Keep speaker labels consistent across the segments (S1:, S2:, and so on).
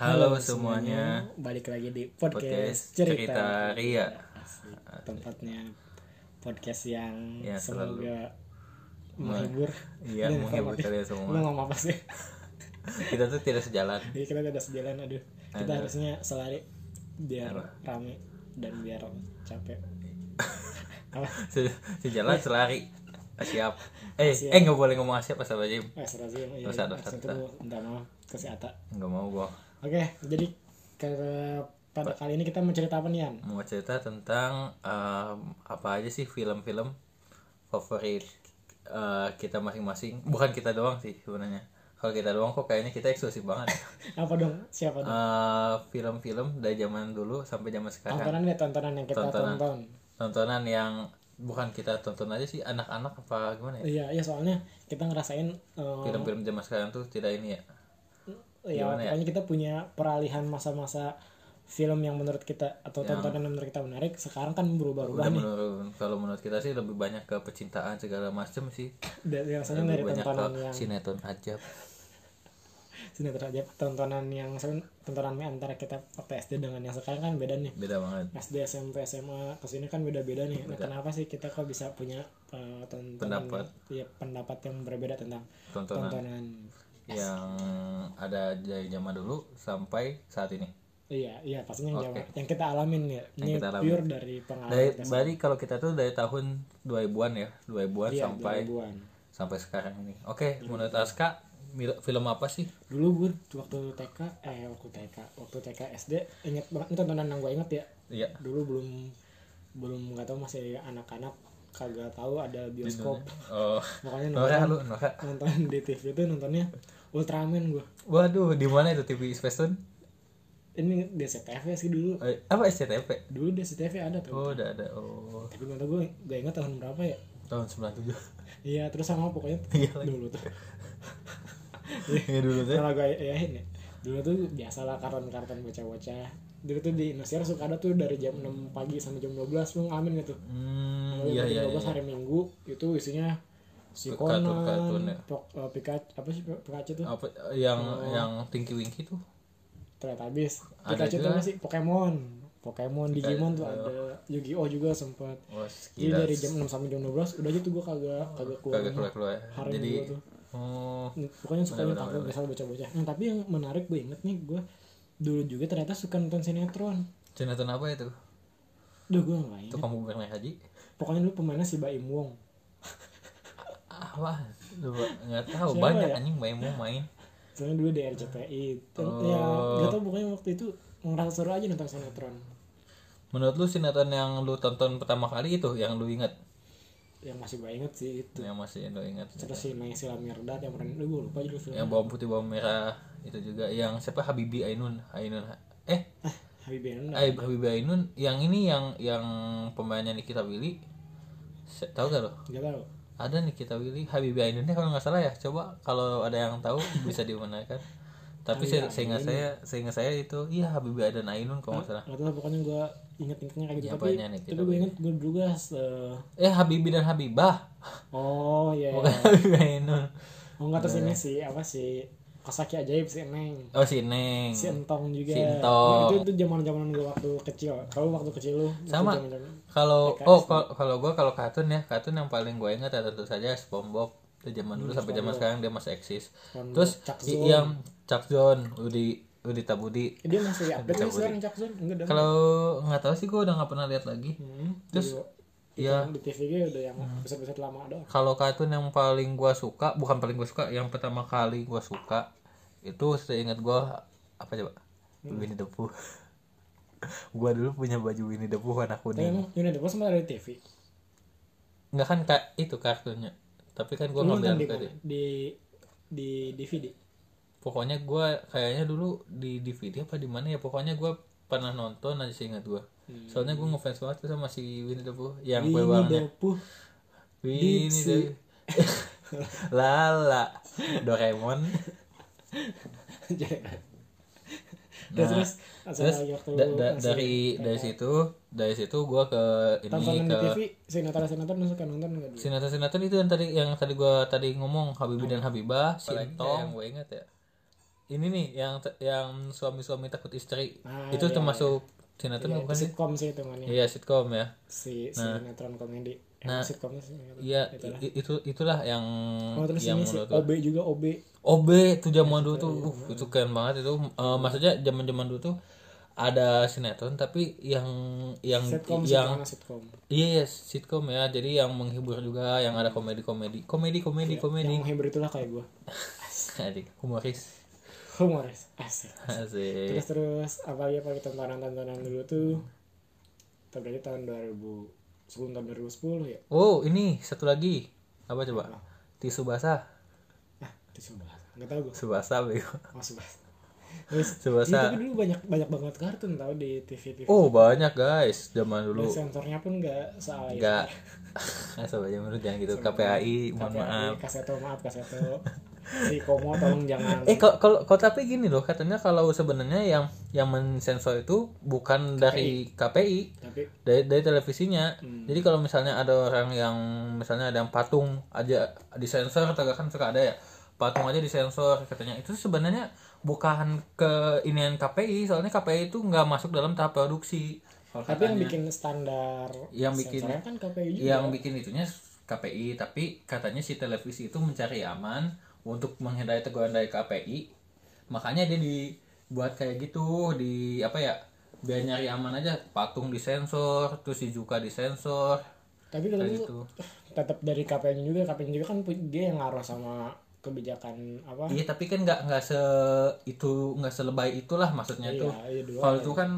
S1: Halo semuanya,
S2: balik lagi di podcast,
S1: podcast
S2: cerita.
S1: cerita Ria.
S2: Asik. Tempatnya podcast yang
S1: Ya, selalu
S2: semoga menghibur.
S1: Iya,
S2: Dan
S1: menghibur
S2: informatif.
S1: kalian
S2: Lu
S1: semua.
S2: ngomong apa sih?
S1: Kita tuh tidak sejalan.
S2: Jadi kita tidak sejalan aduh. Kita
S1: Aduh.
S2: harusnya selari biar
S1: Apa?
S2: rame dan biar capek. apa?
S1: Se- Sejalan selari. Siap. Eh,
S2: Siap.
S1: eh nggak boleh ngomong siapa sama aja.
S2: Eh, serazim. Iya,
S1: Dosa, dosa,
S2: abis itu
S1: dosa.
S2: gua minta maaf ke si Ata.
S1: Nggak mau gua.
S2: Oke, jadi ke- pada kali ini kita mau cerita apa nih, Yan?
S1: Mau cerita tentang um, apa aja sih film-film favorit uh, kita masing-masing. Bukan kita doang sih sebenarnya. Kalau kita doang kok kayaknya kita eksklusif banget.
S2: Apa dong? Siapa dong?
S1: Uh, Film-film dari zaman dulu sampai zaman sekarang.
S2: tontonan ya tontonan yang kita
S1: Tontonan.
S2: tonton.
S1: tontonan yang bukan kita tonton aja sih anak-anak apa gimana ya
S2: Iya, iya soalnya kita ngerasain eh,
S1: film-film zaman sekarang tuh tidak ini ya
S2: ya
S1: Gimana ya?
S2: pokoknya kita punya peralihan masa-masa film yang menurut kita atau
S1: Yang-
S2: tontonan yang menurut kita menarik sekarang
S1: Ya.
S2: kan
S1: udah
S2: berubah-ubah nih
S1: menurut kalau menurut kita sih lebih banyak ke pecintaan segala macam sih
S2: Dan biasanya dari
S1: lebih banyak ke
S2: tontonan yang
S1: sinetron aja
S2: sinetron aja tontonan yang sen- tontonan antara kita waktu SD dengan yang sekarang kan beda nih
S1: beda banget
S2: SD SMP SMA kesini kan beda-beda nih nah, kenapa sih kita kok bisa punya eh, tontonan
S1: Pendapat.
S2: yang- iya, pendapat yang berbeda tentang
S1: tontonan
S2: tontonan
S1: yang ada dari zaman dulu sampai saat ini
S2: iya iya pastinya yang,
S1: Oke.
S2: jawa- yang kita alamin ya ini
S1: kita alamin.
S2: pure dari pengalaman
S1: dari
S2: kita
S1: dari kalau kita tuh dari tahun 2000-an ya 2000-an
S2: Iya,
S1: sampai
S2: 2000-an.
S1: sampai sekarang ini oke menurut Aska mil- film apa sih
S2: dulu gue waktu TK eh waktu TK waktu TK SD inget banget ini tontonan yang gue inget ya
S1: iya
S2: dulu belum belum nggak tahu masih anak-anak kagak tahu ada bioskop
S1: oh
S2: makanya
S1: Nora
S2: nonton
S1: lu Nora
S2: nonton di TV itu nontonnya Ultraman gue
S1: Waduh, di mana itu TV Space Tune?
S2: ini DCTV sih dulu
S1: Eh, apa SCTV?
S2: dulu DCTV ada tuh
S1: Oh, udah ada. Oh,
S2: tapi nggak tahu gue gak inget tahun berapa ya
S1: tahun 97.
S2: iya terus sama pokoknya
S1: Iya lagi.
S2: dulu tuh
S1: Iya dulu tuh.
S2: kalau gue yakin ya dulu tuh biasalah karton-karton bocah-bocah dulu tuh di Indosiar suka ada tuh dari jam 6 pagi sampai jam 12 lu ngamen gitu
S1: Hmm,
S2: Lalu
S1: iya
S2: dari
S1: iya.
S2: 12
S1: iya.
S2: hari Minggu itu isinya si Conan,
S1: Kartun- kartun ya.
S2: Pok- eh, Pikachu, apa sih Pikachu tuh?
S1: iya. Apa yang
S2: Oh.
S1: yang Tinky Winky tuh?
S2: Teletubbies.
S1: Ada
S2: Pikachu tuh
S1: juga.
S2: apa sih? Pokemon. Pokemon, Digimon tuh ada. Yu-Gi-Oh juga sempat.
S1: Wah, gila.
S2: Jadi Iya, dari jam 6 sampai jam 12 udah aja tuh gua kagak kagak keluar.
S1: Kagak
S2: rumah.
S1: keluar-keluar. ya.
S2: Hari
S1: Jadi
S2: Minggu tuh.
S1: oh,
S2: Iya, Pokoknya suka nyetak biasa bocah-bocah. Nah, tapi yang menarik gue inget nih gue dulu juga ternyata suka nonton sinetron.
S1: sinetron apa itu?
S2: Duh gue gak inget.
S1: Tukang bubur naik haji?
S2: Pokoknya dulu pemainnya si Baim Wong.
S1: Apa? Ah, Coba enggak tahu
S2: Siapa
S1: banyak
S2: ya?
S1: anjing main mau main.
S2: Soalnya dulu di RCTI. Dan ya gak tau pokoknya waktu itu ngerasa seru aja nonton sinetron.
S1: Menurut lu sinetron yang lu tonton pertama kali itu yang lu inget?
S2: Yang masih gue inget sih itu.
S1: Yang masih lu inget?
S2: Terus si Naysila Mirdad yang pernah dulu gue lupa judul film.
S1: yang bawang putih bawang merah itu juga yang siapa Habibi Ainun Ainun eh
S2: Ah, Habibie Ainun.
S1: Ai- Habibi Ainun yang ini yang yang pemainnya Nikita Willy Se- tahu gak lo
S2: Gak tau.
S1: ada Nikita Willy Habibi Ainunnya kalau nggak salah ya coba kalau ada yang tahu bisa dimenangkan
S2: Iya,
S1: tapi se- seingat saya seingat saya itu iya Habibi Ainun Ainun kalau nggak salah
S2: Gak tau pokoknya gue inget-ingetnya kayak gitu. Tapi,
S1: Apanya nih
S2: tapi gue inget gue dulu guys. eh,
S1: eh Habibi dan Habibah
S2: oh iya.
S1: bukan Habibi Ainun
S2: Oh enggak terus ini si apa si Kosaki ajaib si Neng.
S1: oh si Neng
S2: Si Entong juga.
S1: Si Entong.
S2: Itu itu zaman-zaman gue waktu kecil. Kalau waktu kecil lu itu
S1: Sama.
S2: zaman-zaman.
S1: kalau
S2: Eh,
S1: oh kal- kalau gue kalau kartun ya kartun yang paling gue ingat ya tentu saja SpongeBob itu zaman dulu sampai zaman sekarang dia masih eksis
S2: SpongeBob,
S1: terus
S2: Hmm, Chuck
S1: i- yang Chuck Zone Udi Udita Budi
S2: Eh, Dia masih update sih sekarang Cak Zon. Enggak dong.
S1: kalau nggak tahu sih gue udah nggak pernah lihat lagi
S2: Hmm,
S1: terus
S2: juga.
S1: ya Hmm.
S2: Yang di TV gue udah yang besar-besar lama doang.
S1: kalau kartun yang paling gue suka bukan paling gue suka yang pertama kali gue suka itu seingat gue apa coba Winnie the Pooh gue dulu punya baju Winnie the Pooh warna
S2: Tapi
S1: kuning
S2: emang Yuna Dewa sempat ada di TV.
S1: nggak kan kak itu kartunnya tapi kan gue
S2: Lu
S1: ngambil
S2: nonton di
S1: dari
S2: mana? Di di DVD.
S1: pokoknya gua kayaknya dulu di DVD apa di mana ya pokoknya gua pernah nonton aja seingat gua soalnya gua ngefans banget tuh sama si Hmm. Winnie the Pooh yang kue
S2: Ini
S1: warnanya
S2: Dewa
S1: Winnie the Lala Doraemon
S2: Terus terus
S1: Nah,
S2: asal
S1: terus
S2: lagi waktu
S1: da- da-
S2: masih
S1: dari dari
S2: kan.
S1: situ dari situ gua ke ini
S2: tontonan di
S1: ke
S2: TV sinetron-sinetron lu suka nonton nggak dulu?
S1: sinetron-sinetron itu yang tadi yang tadi gua tadi ngomong Habibie dan Habibah, si Entong. Yang gue ingat ya. Ini nih yang yang suami-suami takut istri.
S2: Ah,
S1: itu
S2: iya,
S1: termasuk sinetron
S2: Ya,
S1: bukan
S2: itu
S1: sih?
S2: sitcom sih hitungannya
S1: Iya, sitkom ya.
S2: si sinetron komedi emang sitcomnya sih
S1: Iya, i- i- itu itulah yang
S2: oh Iya, terus
S1: yang
S2: ini sih
S1: Hmm, iya, menurut gua.
S2: OB juga OB
S1: OB tuh zaman dulu tuh uh, itu keren banget itu Eh, maksudnya zaman-zaman dulu tuh ada sinetron tapi yang yang
S2: sitcom
S1: yang
S2: sitcom sitcom
S1: Iya, yes, sitcom ya. Jadi yang menghibur juga, yang ada komedi-komedi. Komedi-komedi komedi.
S2: yang menghibur itulah kayak gue
S1: Adik, humoris.
S2: humoris asik
S1: Asik.
S2: terus terus apa lagi pakai tontonan-tontonan dulu tuh tapi berarti tahun 2000 sebelum tahun 2010 ya
S1: Oh, ini satu lagi. Apa coba? Tisu basah.
S2: ah itu sumpah nggak tahu gue
S1: Subasa bego.
S2: oh sumpah terus Iya,
S1: Subasa.
S2: tapi dulu banyak banyak banget kartun tau di TV TV
S1: ah. Oh, banyak guys zaman
S2: Dan
S1: dulu.
S2: sensornya pun nggak salah
S1: Enggak. Asal aja menurut jangan gitu KPAI, mohon maaf.
S2: kaseto maaf kaseto si komo tolong jangan
S1: Eh kalau kalau kalau tapi gini loh katanya kalau sebenarnya yang yang mensensor itu bukan dari KPI,
S2: tapi
S1: dari dari televisinya jadi kalau misalnya ada orang yang misalnya ada yang patung aja disensor atau kan suka ada ya patung aja disensor katanya itu sebenarnya bukan ke inian KPI soalnya KPI itu nggak masuk dalam tahap produksi Kalau
S2: tapi yang bikin standar
S1: Yang bikin-
S2: sensornya kan KPI juga
S1: yang bikin itunya KPI tapi katanya si televisi itu mencari aman untuk menghindari teguran dari KPI makanya dia dibuat kayak gitu di apa ya biar nyari aman aja patung disensor terus si Juka disensor
S2: tapi kalau
S1: kayak
S2: itu
S1: gitu
S2: tetap dari KPI juga KPI juga kan pu- dia yang ngaruh sama kebijakan apa
S1: iya tapi kan nggak nggak se itu nggak selebay itulah maksudnya tuh
S2: iya dua
S1: kalau itu kan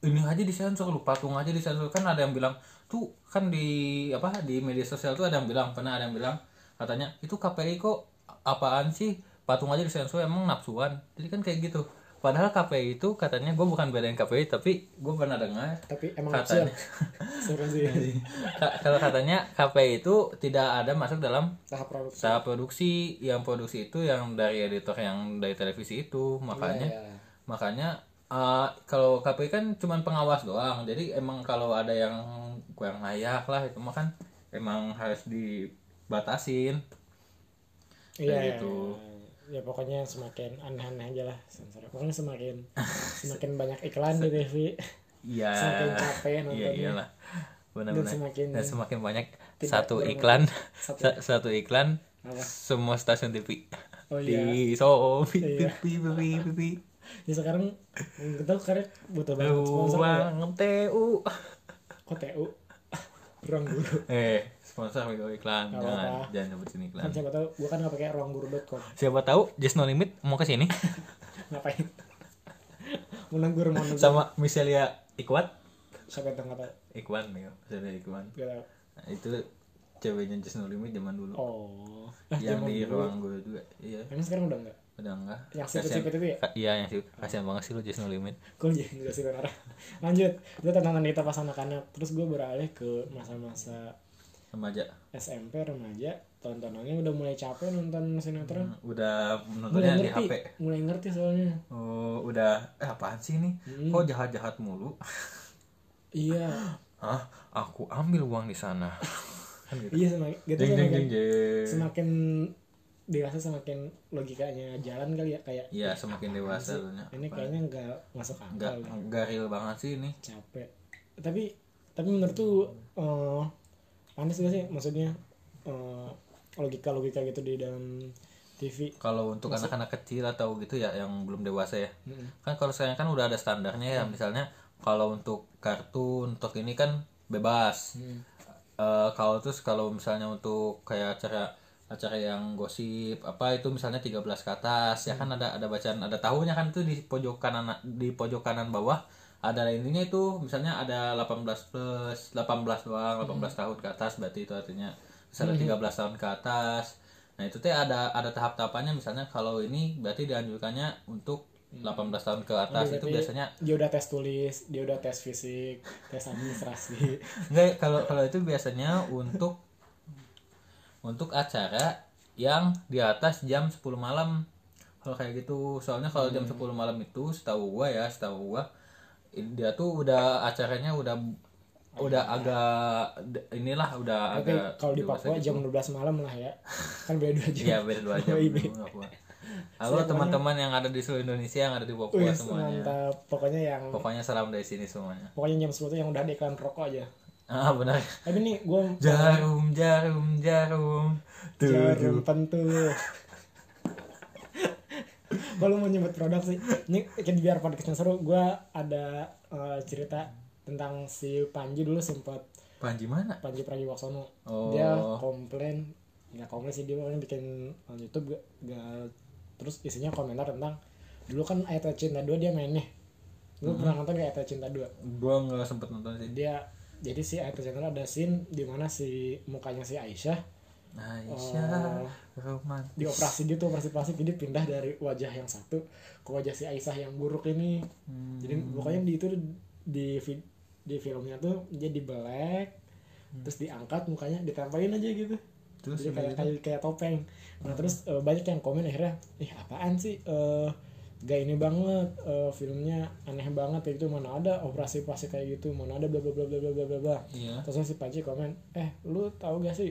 S1: ini aja disensor lu patung aja disensor kan ada yang bilang tuh kan di apa di media sosial tuh ada yang bilang pernah ada yang bilang katanya itu KPI kok apaan sih patung aja disensor emang nafsuan jadi kan kayak gitu padahal KPI itu katanya gue bukan belain KPI tapi gue pernah dengar
S2: tapi emang
S1: katanya
S2: absurd
S1: Iya.
S2: Seru sih
S1: Ka- kalau katanya KPI itu tidak ada masuk dalam
S2: tahap produksi
S1: tahap produksi yang produksi itu yang dari editor yang dari televisi itu makanya
S2: ya,
S1: makanya eh, kalau KPI kan cuman pengawas doang jadi emang kalau ada yang kurang layak lah itu mah kan emang harus dibatasin
S2: iya
S1: kayak
S2: iya,
S1: gitu.
S2: iya. ya pokoknya semakin aneh-aneh aja lah sensornya pokoknya semakin semakin banyak iklan di TV
S1: iya
S2: Semakin capek
S1: iya
S2: nontonnya.
S1: iyalah
S2: dan
S1: benar-benar
S2: semakin
S1: dan semakin banyak
S2: tidak
S1: satu
S2: bermanfaat.
S1: iklan
S2: Satu.
S1: sa- satu iklan
S2: Apa?
S1: semua stasiun TV
S2: oh iya
S1: di so pipi
S2: Iya.
S1: pipi pipi
S2: ya sekarang kita sekarang butuh banget sponsor ya.
S1: uang TU
S2: kok TU ruang guru
S1: eh sponsor video iklan
S2: Nggak
S1: jangan
S2: apa-apa.
S1: jangan nyebutin iklan
S2: kan siapa tahu gua kan nggak pakai ruangguru.com
S1: siapa tahu Just No Limit mau ke sini
S2: ngapain menegur mau negur
S1: sama Michelia Ikwat
S2: siapa tahu nggak tahu
S1: Ikwan ya Michelia Ikwan
S2: Nggak tahu.
S1: Nah, itu ceweknya Just No Limit zaman dulu
S2: oh Ah,
S1: yang
S2: zaman
S1: di
S2: dulu.
S1: ruang gue juga iya
S2: emang sekarang udah enggak
S1: udah enggak
S2: yang
S1: Kasihan-
S2: sipit-sipit itu ya
S1: Ka- iya yang sipit kasihan banget sih lu Just No Limit
S2: gue jadi nggak sih benar lanjut itu tantangan kita pas anak-anak terus gue beralih ke masa-masa
S1: remaja
S2: SMP remaja tontonannya udah mulai capek nonton sinetron
S1: Hmm, udah
S2: mulai
S1: nontonnya di
S2: ngerti
S1: HP
S2: mulai ngerti soalnya
S1: oh udah eh apaan sih ini
S2: Hmm.
S1: kok jahat-jahat mulu
S2: iya
S1: Hah? aku ambil uang di sana kan gitu
S2: iya semakin gitu
S1: jeng jeng
S2: semakin,
S1: jeng jeng
S2: semakin dewasa semakin logikanya jalan kali ya kayak
S1: iya semakin dewasa lu nya
S2: ini kan kayaknya nggak masuk
S1: nggak
S2: akal
S1: nggak real banget sih ini
S2: capek tapi tapi menurut tuh eh panas gak sih maksudnya eh, logika logika gitu di dalam TV
S1: kalau untuk anak-anak kecil atau gitu ya yang belum dewasa ya kan kalau sekarang kan udah ada standarnya ya misalnya kalau untuk kartun untuk ini kan bebas Eh, kalau terus kalau misalnya untuk kayak acara acara yang gosip apa itu misalnya 13 ke atas ya kan ada ada bacaan ada tahunya kan itu di pojok kanan di pojok kanan bawah ada ininya itu misalnya ada 18 plus 18 doang 18 tahun ke atas berarti itu artinya misalnya 13 tahun ke atas nah itu teh ada ada tahap-tahapannya misalnya kalau ini berarti dianjurkannya untuk 18 tahun ke atas Nah, itu biasanya
S2: dia udah tes tulis dia udah tes fisik tes administrasi
S1: Enggak, kalau kalau itu biasanya untuk untuk acara yang di atas jam 10 malam. kalau kayak gitu soalnya kalau jam
S2: Hmm.
S1: 10 malam itu setahu gua ya setahu gua i- dia tuh udah acaranya udah udah agak d- inilah udah
S2: Iya. Tapi
S1: agak
S2: kalau di
S1: dewasa
S2: Papua
S1: gitu.
S2: jam Oh, 12 malam lah ya. Kan beda dua jam.
S1: Iya beda dua jam. belum Papua. Halo teman-teman yang ada di seluruh Indonesia yang ada di Papua
S2: Wih,
S1: semuanya.
S2: mantap. Pokoknya yang
S1: Pokoknya salam dari sini semuanya.
S2: pokoknya jam 10 tuh yang udah ada iklan rokok aja.
S1: Ah benar.
S2: Tapi nih gue
S1: Jarum jarum jarum. Tuh.
S2: jarum pentul. Kalau mau nyebut produk sih, ini kayak biar podcastnya seru, gue ada eh, cerita tentang si Panji dulu sempat
S1: Panji mana?
S2: Panji Pragiwaksono.
S1: Oh.
S2: Dia komplain, nggak komplain sih dia pokoknya bikin eh, YouTube gak, gak- terus isinya komentar tentang dulu kan Ayat Cinta 2 dia main nih. Lu pernah nonton gak Ayat Cinta 2?
S1: Gua nggak sempet nonton sih.
S2: Dia jadi si Ayat Cinta 2 ada scene di mana si mukanya si Aisyah Oh.
S1: Aisyah Roman.
S2: dioperasi gitu operasi plastik jadi pindah dari wajah yang satu ke wajah si Aisyah yang buruk ini
S1: Hmm,
S2: jadi pokoknya di itu di vi- di filmnya tuh dia dibelek terus diangkat mukanya ditempelin aja gitu
S1: Terus
S2: jadi kayak kayak, kayak topeng nah terus eh, banyak yang komen akhirnya ih apaan sih eh gak ini banget eh, filmnya aneh banget kayak gitu mana ada operasi plastik kayak gitu mana ada bla bla bla bla bla bla bla bla
S1: Iya.
S2: terus si Panji komen eh lu tahu gak sih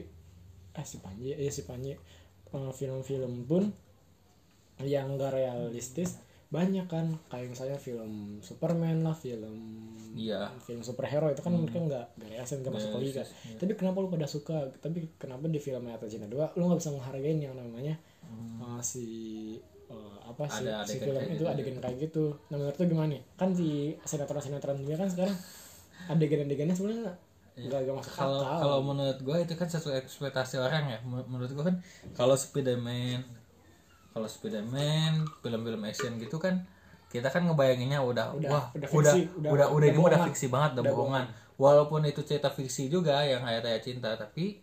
S2: eh si Panji ya si Panji eh, film-film pun yang gak realistis banyak kan kayak misalnya film Superman lah film
S1: Iya. Hmm.
S2: film superhero itu kan mereka nggak nggak realistis nggak masuk
S1: Nggak iya.
S2: logika tapi kenapa lu pada suka tapi kenapa di film Ayat Cinta 2 lu nggak bisa menghargain yang namanya eh, si eh, apa sih
S1: Hmm. Ada adegan
S2: si film
S1: kayak
S2: itu
S1: gitu.
S2: adegan kayak gitu nah menurut lu gimana nih kan di sinetron-sinetron dunia kan sekarang adegan-adegannya sebenarnya nggak nggak masuk
S1: Iya. kalau
S2: akal
S1: kalau menurut gue itu kan satu ekspektasi orang ya Men- menurut gue kan kalau Spiderman kalau Spiderman film-film action gitu kan kita kan ngebayanginnya udah,
S2: Udah-
S1: wah udah
S2: udah fiksi,
S1: udah
S2: udah-
S1: udah,
S2: udah
S1: ini udah
S2: bohongan.
S1: fiksi banget udah, bohongan walaupun itu cerita fiksi juga yang ayat ayat cinta tapi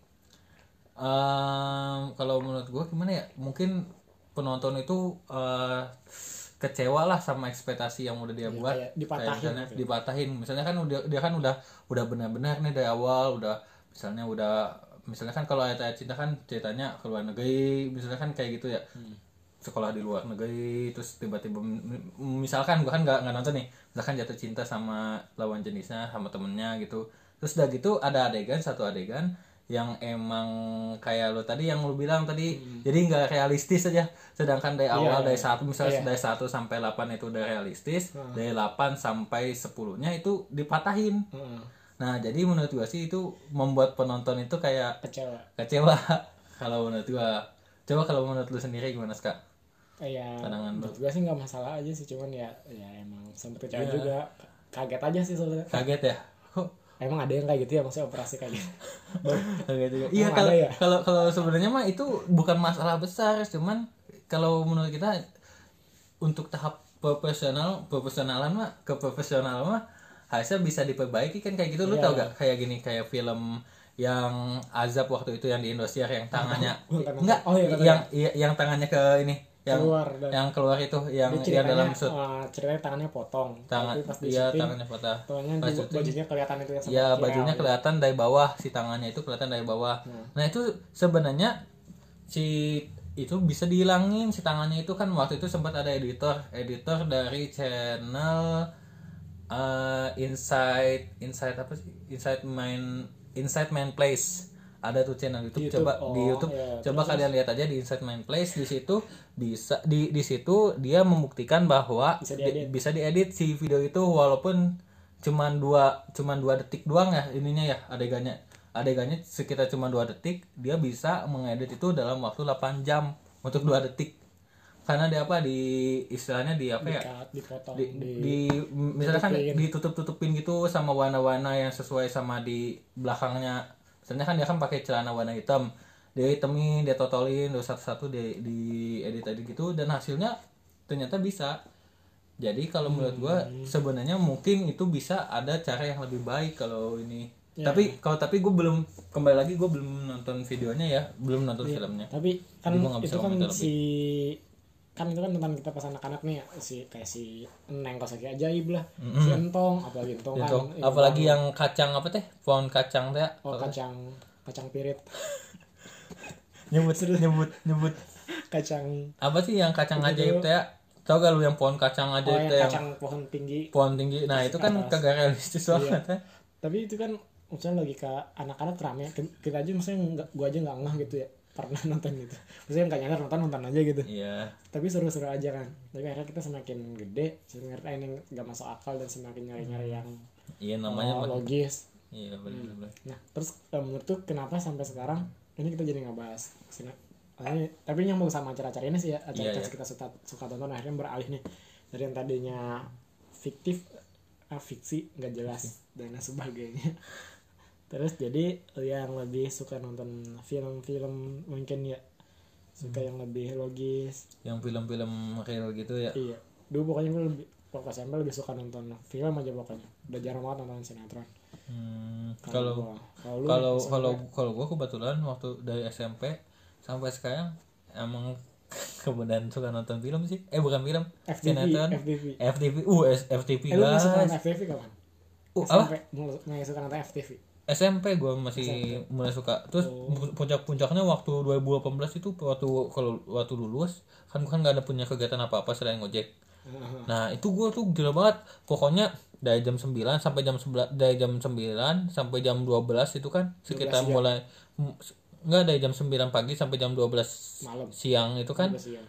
S1: em, kalau menurut gue gimana ya mungkin penonton itu eh, kecewa lah sama ekspektasi yang udah dia buat
S2: Iya, kayak
S1: Kayak
S2: dipatahin gitu.
S1: misalnya dipatahin misalnya kan udah dia kan udah udah benar-benar nih dari awal udah misalnya udah misalnya kan kalau ayat-ayat cinta kan ceritanya ke luar negeri misalnya kan kayak gitu ya
S2: Hmm.
S1: sekolah di luar negeri terus tiba-tiba mi- misalkan gua kan nggak nggak nonton nih misalkan jatuh cinta sama lawan jenisnya sama temennya gitu terus udah gitu ada adegan satu adegan yang emang kayak lo tadi yang lo bilang tadi jadi nggak realistis aja sedangkan dari awal dari satu misalnya dari satu sampai 8 itu udah realistis dari 8 sampai 10 nya itu dipatahin
S2: Heeh,
S1: nah jadi menurut gua sih itu membuat penonton itu kayak
S2: kecewa
S1: kecewa kalau menurut gua coba kalau menurut lu sendiri gimana Ska?
S2: Eh, ya
S1: Pandangan
S2: menurut gue sih nggak masalah aja sih cuman ya ya emang sempet kecewa
S1: Iya.
S2: juga kaget aja sih sebenarnya
S1: kaget ya kok
S2: emang ada yang kayak gitu ya maksudnya operasi kayak gitu
S1: kaget juga iya
S2: Emang
S1: kalau
S2: ada ya?
S1: kalau kalau sebenarnya mah itu bukan masalah besar cuman kalau menurut kita untuk tahap profesional profesionalan mah ke profesional mah harusnya bisa diperbaiki kan kayak gitu
S2: Iya,
S1: lu tau gak kayak gini kayak film yang azab waktu itu yang di Indosiar yang tangannya
S2: Gua nggak nonton.
S1: enggak
S2: Oh, iya, nonton.
S1: yang iya, yang tangannya ke ini yang
S2: Keluar dan-
S1: yang keluar itu yang
S2: Dia
S1: yang
S2: ceritanya,
S1: dalam shoot
S2: eh, ceritanya tangannya potong
S1: tangan
S2: tapi pas di
S1: iya
S2: syuting
S1: tangannya patah
S2: tangannya
S1: Pas
S2: di-
S1: syuting.
S2: bajunya kelihatan itu yang
S1: Ya
S2: viral.
S1: bajunya kelihatan dari bawah, si tangannya itu kelihatan dari bawah. Nah itu sebenarnya si itu bisa dihilangin si tangannya itu kan waktu itu sempat ada editor, editor dari channel eh, Inside Inside apa sih? Inside Main Inside Main Place. Ada tuh channel YouTube, coba di YouTube
S2: iya.
S1: coba kalian lihat aja di Inside Main Place di situ bisa di di situ dia membuktikan bahwa
S2: Bisa
S1: di-
S2: diedit.
S1: bisa diedit si video itu walaupun cuman dua cuman dua detik doang ya ininya ya adegannya adegannya sekitar cuma dua detik dia bisa mengedit itu dalam waktu 8 jam untuk dua detik karena di apa di istilahnya di apa ya
S2: Dikat, dipotong
S1: di, di misalnya kan ditutup tutupin gitu sama warna-warna yang sesuai sama di belakangnya misalnya kan dia kan pakai celana warna hitam dia hitemin dia totolin terus satu-satu di, di edit edit gitu dan hasilnya ternyata bisa jadi kalau menurut gua sebenarnya mungkin itu bisa ada cara yang lebih baik kalau ini tapi kalau tapi gue belum kembali lagi gue belum nonton videonya ya belum nonton filmnya
S2: tapi kan
S1: Jadi gua nggak bisa
S2: itu kan
S1: komentar
S2: si kan itu kan tentang kita pas anak-anak nih ya, si kayak si Neng Kosaki ajaib lah si Entong apalagi Entong kan
S1: Tuh,
S2: yang
S1: apalagi yang kacang apa teh pohon kacang teh
S2: oh, kacang kacang pirit
S1: nyebut nyebut nyebut
S2: kacang
S1: apa sih yang kacang
S2: Itu
S1: ajaib
S2: dulu.
S1: teh tau gak lu yang pohon kacang
S2: oh
S1: ajaib
S2: yang
S1: teh yang
S2: kacang pohon tinggi
S1: pohon tinggi nah itu kan
S2: atas. Iya.
S1: kagak realistis banget ya
S2: tapi itu kan misalnya logika anak-anak rame Ki- kita aja maksudnya nggak gua aja nggak ngeh gitu ya pernah nonton gitu maksudnya nggak nyadar nonton nonton aja gitu
S1: iya
S2: tapi seru-seru aja kan tapi akhirnya kita semakin gede semakin nyari yang nggak masuk akal dan semakin nyari-nyari yang
S1: iya namanya
S2: oh,
S1: mah-
S2: logis
S1: iya bener bener
S2: Nah, terus eh, menurut tuh kenapa sampai sekarang ini kita jadi nggak bahas kesini. Tapi, tapi nyambung sama acara-acara ini sih ya, acara-acara
S1: Iya, iya.
S2: kita suka, suka tonton akhirnya beralih nih dari yang tadinya fiktif, eh, fiksi nggak jelas dan lain sebagainya. Terus jadi eh, yang lebih suka nonton film-film mungkin ya
S1: Hmm.
S2: suka yang lebih logis.
S1: yang film-film real gitu ya
S2: Iya. Dulu pokoknya gue lebih pokok SMP lebih suka nonton film aja pokoknya. Udah jarang banget nonton sinetron.
S1: Hmm, kalau
S2: gua. kalau lu
S1: kalau
S2: SMP?
S1: kalau kalau gue kebetulan waktu dari SMP sampai sekarang emang kemudian suka nonton film sih eh bukan film
S2: FTV,
S1: sinetron
S2: FTV.
S1: FTV uh S- FTV
S2: Eh, lu mulai
S1: guys
S2: suka nonton FTV kapan? Eh,
S1: uh apa
S2: SMP mulai mulai suka nonton FTV.
S1: SMP gue masih mulai suka terus pu- puncak-puncaknya waktu 2018 itu waktu kalau waktu lulus kan gue kan gak ada punya kegiatan apa-apa selain ngojek
S2: Heeh.
S1: Nah itu gue tuh gila banget Pokoknya dari jam 9 sampai jam 11 Dari jam 9 sampai jam 12 itu kan Sekitar mulai m- s- Enggak dari jam 9 pagi sampai jam 12
S2: Malam.
S1: siang itu kan
S2: Terus iya.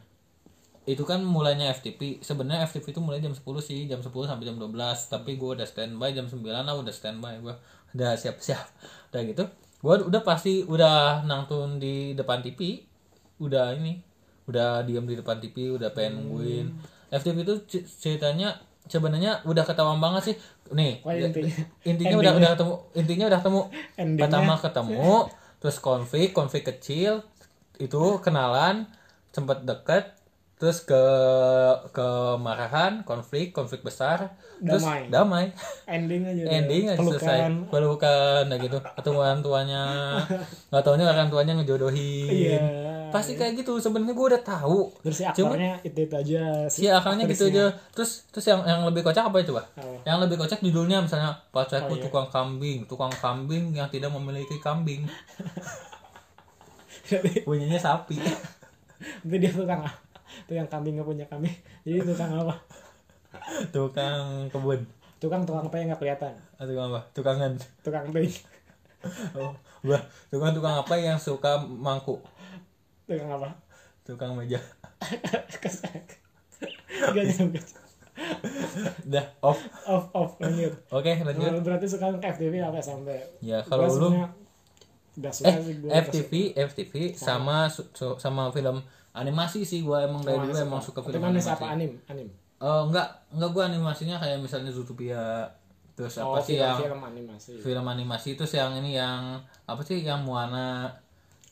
S1: Itu kan mulainya FTP Sebenarnya FTP itu mulai jam 10 sih Jam 10 sampai jam 12 Tapi gue udah standby jam 9 lah udah standby gue Udah siap-siap Udah gitu Gue udah pasti udah nangtun di depan TV Udah ini udah diam di depan TV udah pengen nungguin FTV itu c- ceritanya sebenarnya udah ketahuan banget sih nih
S2: Wah,
S1: ya-
S2: intinya.
S1: intinya udah udah ketemu intinya udah ketemu
S2: Endingnya.
S1: pertama ketemu terus konflik konflik kecil itu kenalan sempet deket terus ke kemarahan konflik konflik besar terus
S2: Damai.
S1: damai
S2: Ending aja. udah.
S1: ending aja selesai
S2: Pelukan.
S1: pelukan nah gitu ketemu orang tuanya nggak taunya orang tuanya ngejodohin
S2: Iya.
S1: pasti kayak gitu sebenarnya gue udah tahu
S2: Terus si aktornya itu itu aja.
S1: si akalnya gitu aja terus terus yang yang lebih kocak apa Oh, iya. itu pak
S2: Apa?
S1: yang lebih kocak judulnya misalnya pacarku tukang kambing tukang kambing yang tidak memiliki kambing
S2: Jadi
S1: punyanya sapi
S2: nanti dia tukang tukang kambing nggak punya kambing. Jadi tukang apa?
S1: tukang kebun
S2: Tukang tukang apa yang nggak kelihatan?
S1: Ah, tukang apa tukangan
S2: Tukang ting.
S1: oh wah tukang tukang apa yang suka mangku
S2: Tukang apa?
S1: tukang meja
S2: Kesek. Gak nyambung.
S1: dah off
S2: Off off lanjut.
S1: oke lanjut
S2: Nah, Berarti suka FTV apa sampai?
S1: ya kalau lu
S2: Udah suka
S1: eh
S2: sih gue.
S1: FTV FTV sama su- su- sama film animasi sih gua emang dari dulu Nah, emang suka film
S2: Tapi
S1: animasi
S2: apa anim? Anim.
S1: Eh enggak, enggak gua animasinya kayak misalnya Zootopia terus apa
S2: Oh,
S1: sih yang
S2: film animasi.
S1: film animasi terus yang ini yang apa sih yang Moana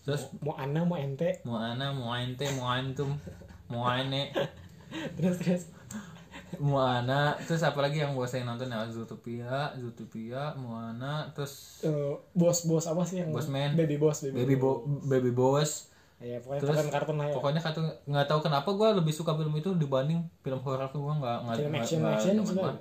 S1: terus
S2: mau ana mau ente
S1: Moana, Moante, Moantum, Moane,
S2: terus terus
S1: Moana, terus apa lagi yang gua saya nonton ya Zootopia, Zootopia, Moana, terus
S2: eh, bos bos apa sih yang
S1: Boss Man.
S2: baby bos baby,
S1: Baby Bo Baby Boss.
S2: ya pokoknya
S1: Terus,
S2: kartun kartun lah ya
S1: Pokoknya kartu nggak tahu kenapa gua lebih suka film itu dibanding film horor tuh gua nggak nggak
S2: Film
S1: nggak-
S2: action-
S1: nggak
S2: action
S1: demen
S2: suka?
S1: banget.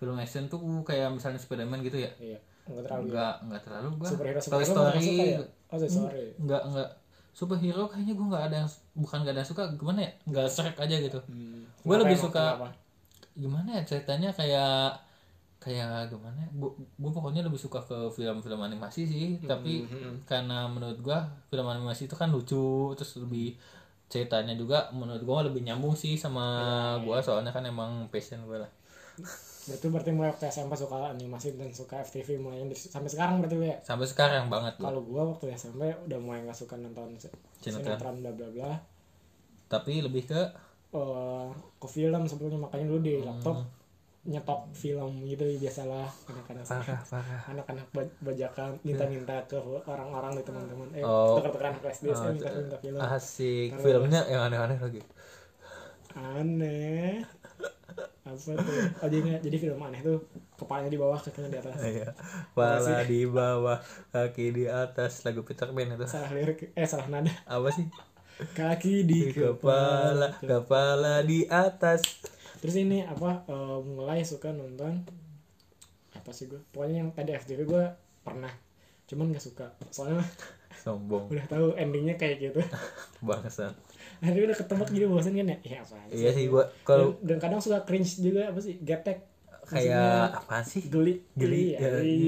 S1: Film action tuh uh, kayak misalnya Spiderman gitu ya.
S2: iya nggak terlalu ya.
S1: Enggak, enggak terlalu gua.
S2: superhero
S1: Toy
S2: superhero nggak
S1: Story Hmm.
S2: suka ya oh Toy Story
S1: enggak enggak superhero kayaknya gua enggak ada yang bukan enggak ada yang suka gimana ya? Enggak serak aja gitu.
S2: hmm.
S1: Gua
S2: Kenapa
S1: lebih
S2: emang?
S1: suka-
S2: Kenapa?
S1: Gimana ya ceritanya kayak kayak gimana? ya? Gua, gua pokoknya lebih suka ke film-film animasi sih, tapi karena menurut gua film animasi itu kan lucu, terus lebih ceritanya juga menurut gua lebih nyambung sih sama gua soalnya kan emang passion gua lah.
S2: berarti berarti mulai waktu SMP suka animasi dan suka FTV mulainya dari- sampai sekarang berarti lu ya
S1: Sampai sekarang banget gua.
S2: kalau gua waktu SMP udah mulai nggak suka nonton se-
S1: Sinetron.
S2: sinetron bla bla bla
S1: Tapi lebih ke
S2: Eh, ke film sebelumnya makanya dulu di laptop
S1: Hmm.
S2: nyetok film gitu biasalah anak-anak
S1: parah parah.
S2: anak-anak baj- bajakan minta-minta ke orang-orang nih teman-teman eh
S1: Oh. ah.
S2: tuker-tukeran ke SD saya eh, minta-minta film
S1: Asik, filmnya yang aneh-aneh lagi.
S2: aneh apa tuh oh, jadi, nggak- jadi film aneh tuh kepalanya di bawah kakinya di atas
S1: Iya. Pala di bawah, kaki di atas, lagu Peter Pan itu.
S2: salah lirik eh salah nada
S1: Apa sih?
S2: kaki
S1: Di
S2: di kepala
S1: kepala, kepala di atas.
S2: terus ini apa eh, mulai suka nonton apa sih gue pokoknya yang tadi FTV gue pernah cuman nggak suka soalnya
S1: sombong
S2: udah tahu endingnya kayak gitu
S1: bangsat
S2: akhirnya udah ketebak jadi bosan kan ya iya apa
S1: iya sih gua kalau
S2: dan, dan kadang suka cringe juga apa sih gaptek
S1: kayak apa sih
S2: geli
S1: Geli,
S2: ya.
S1: geli,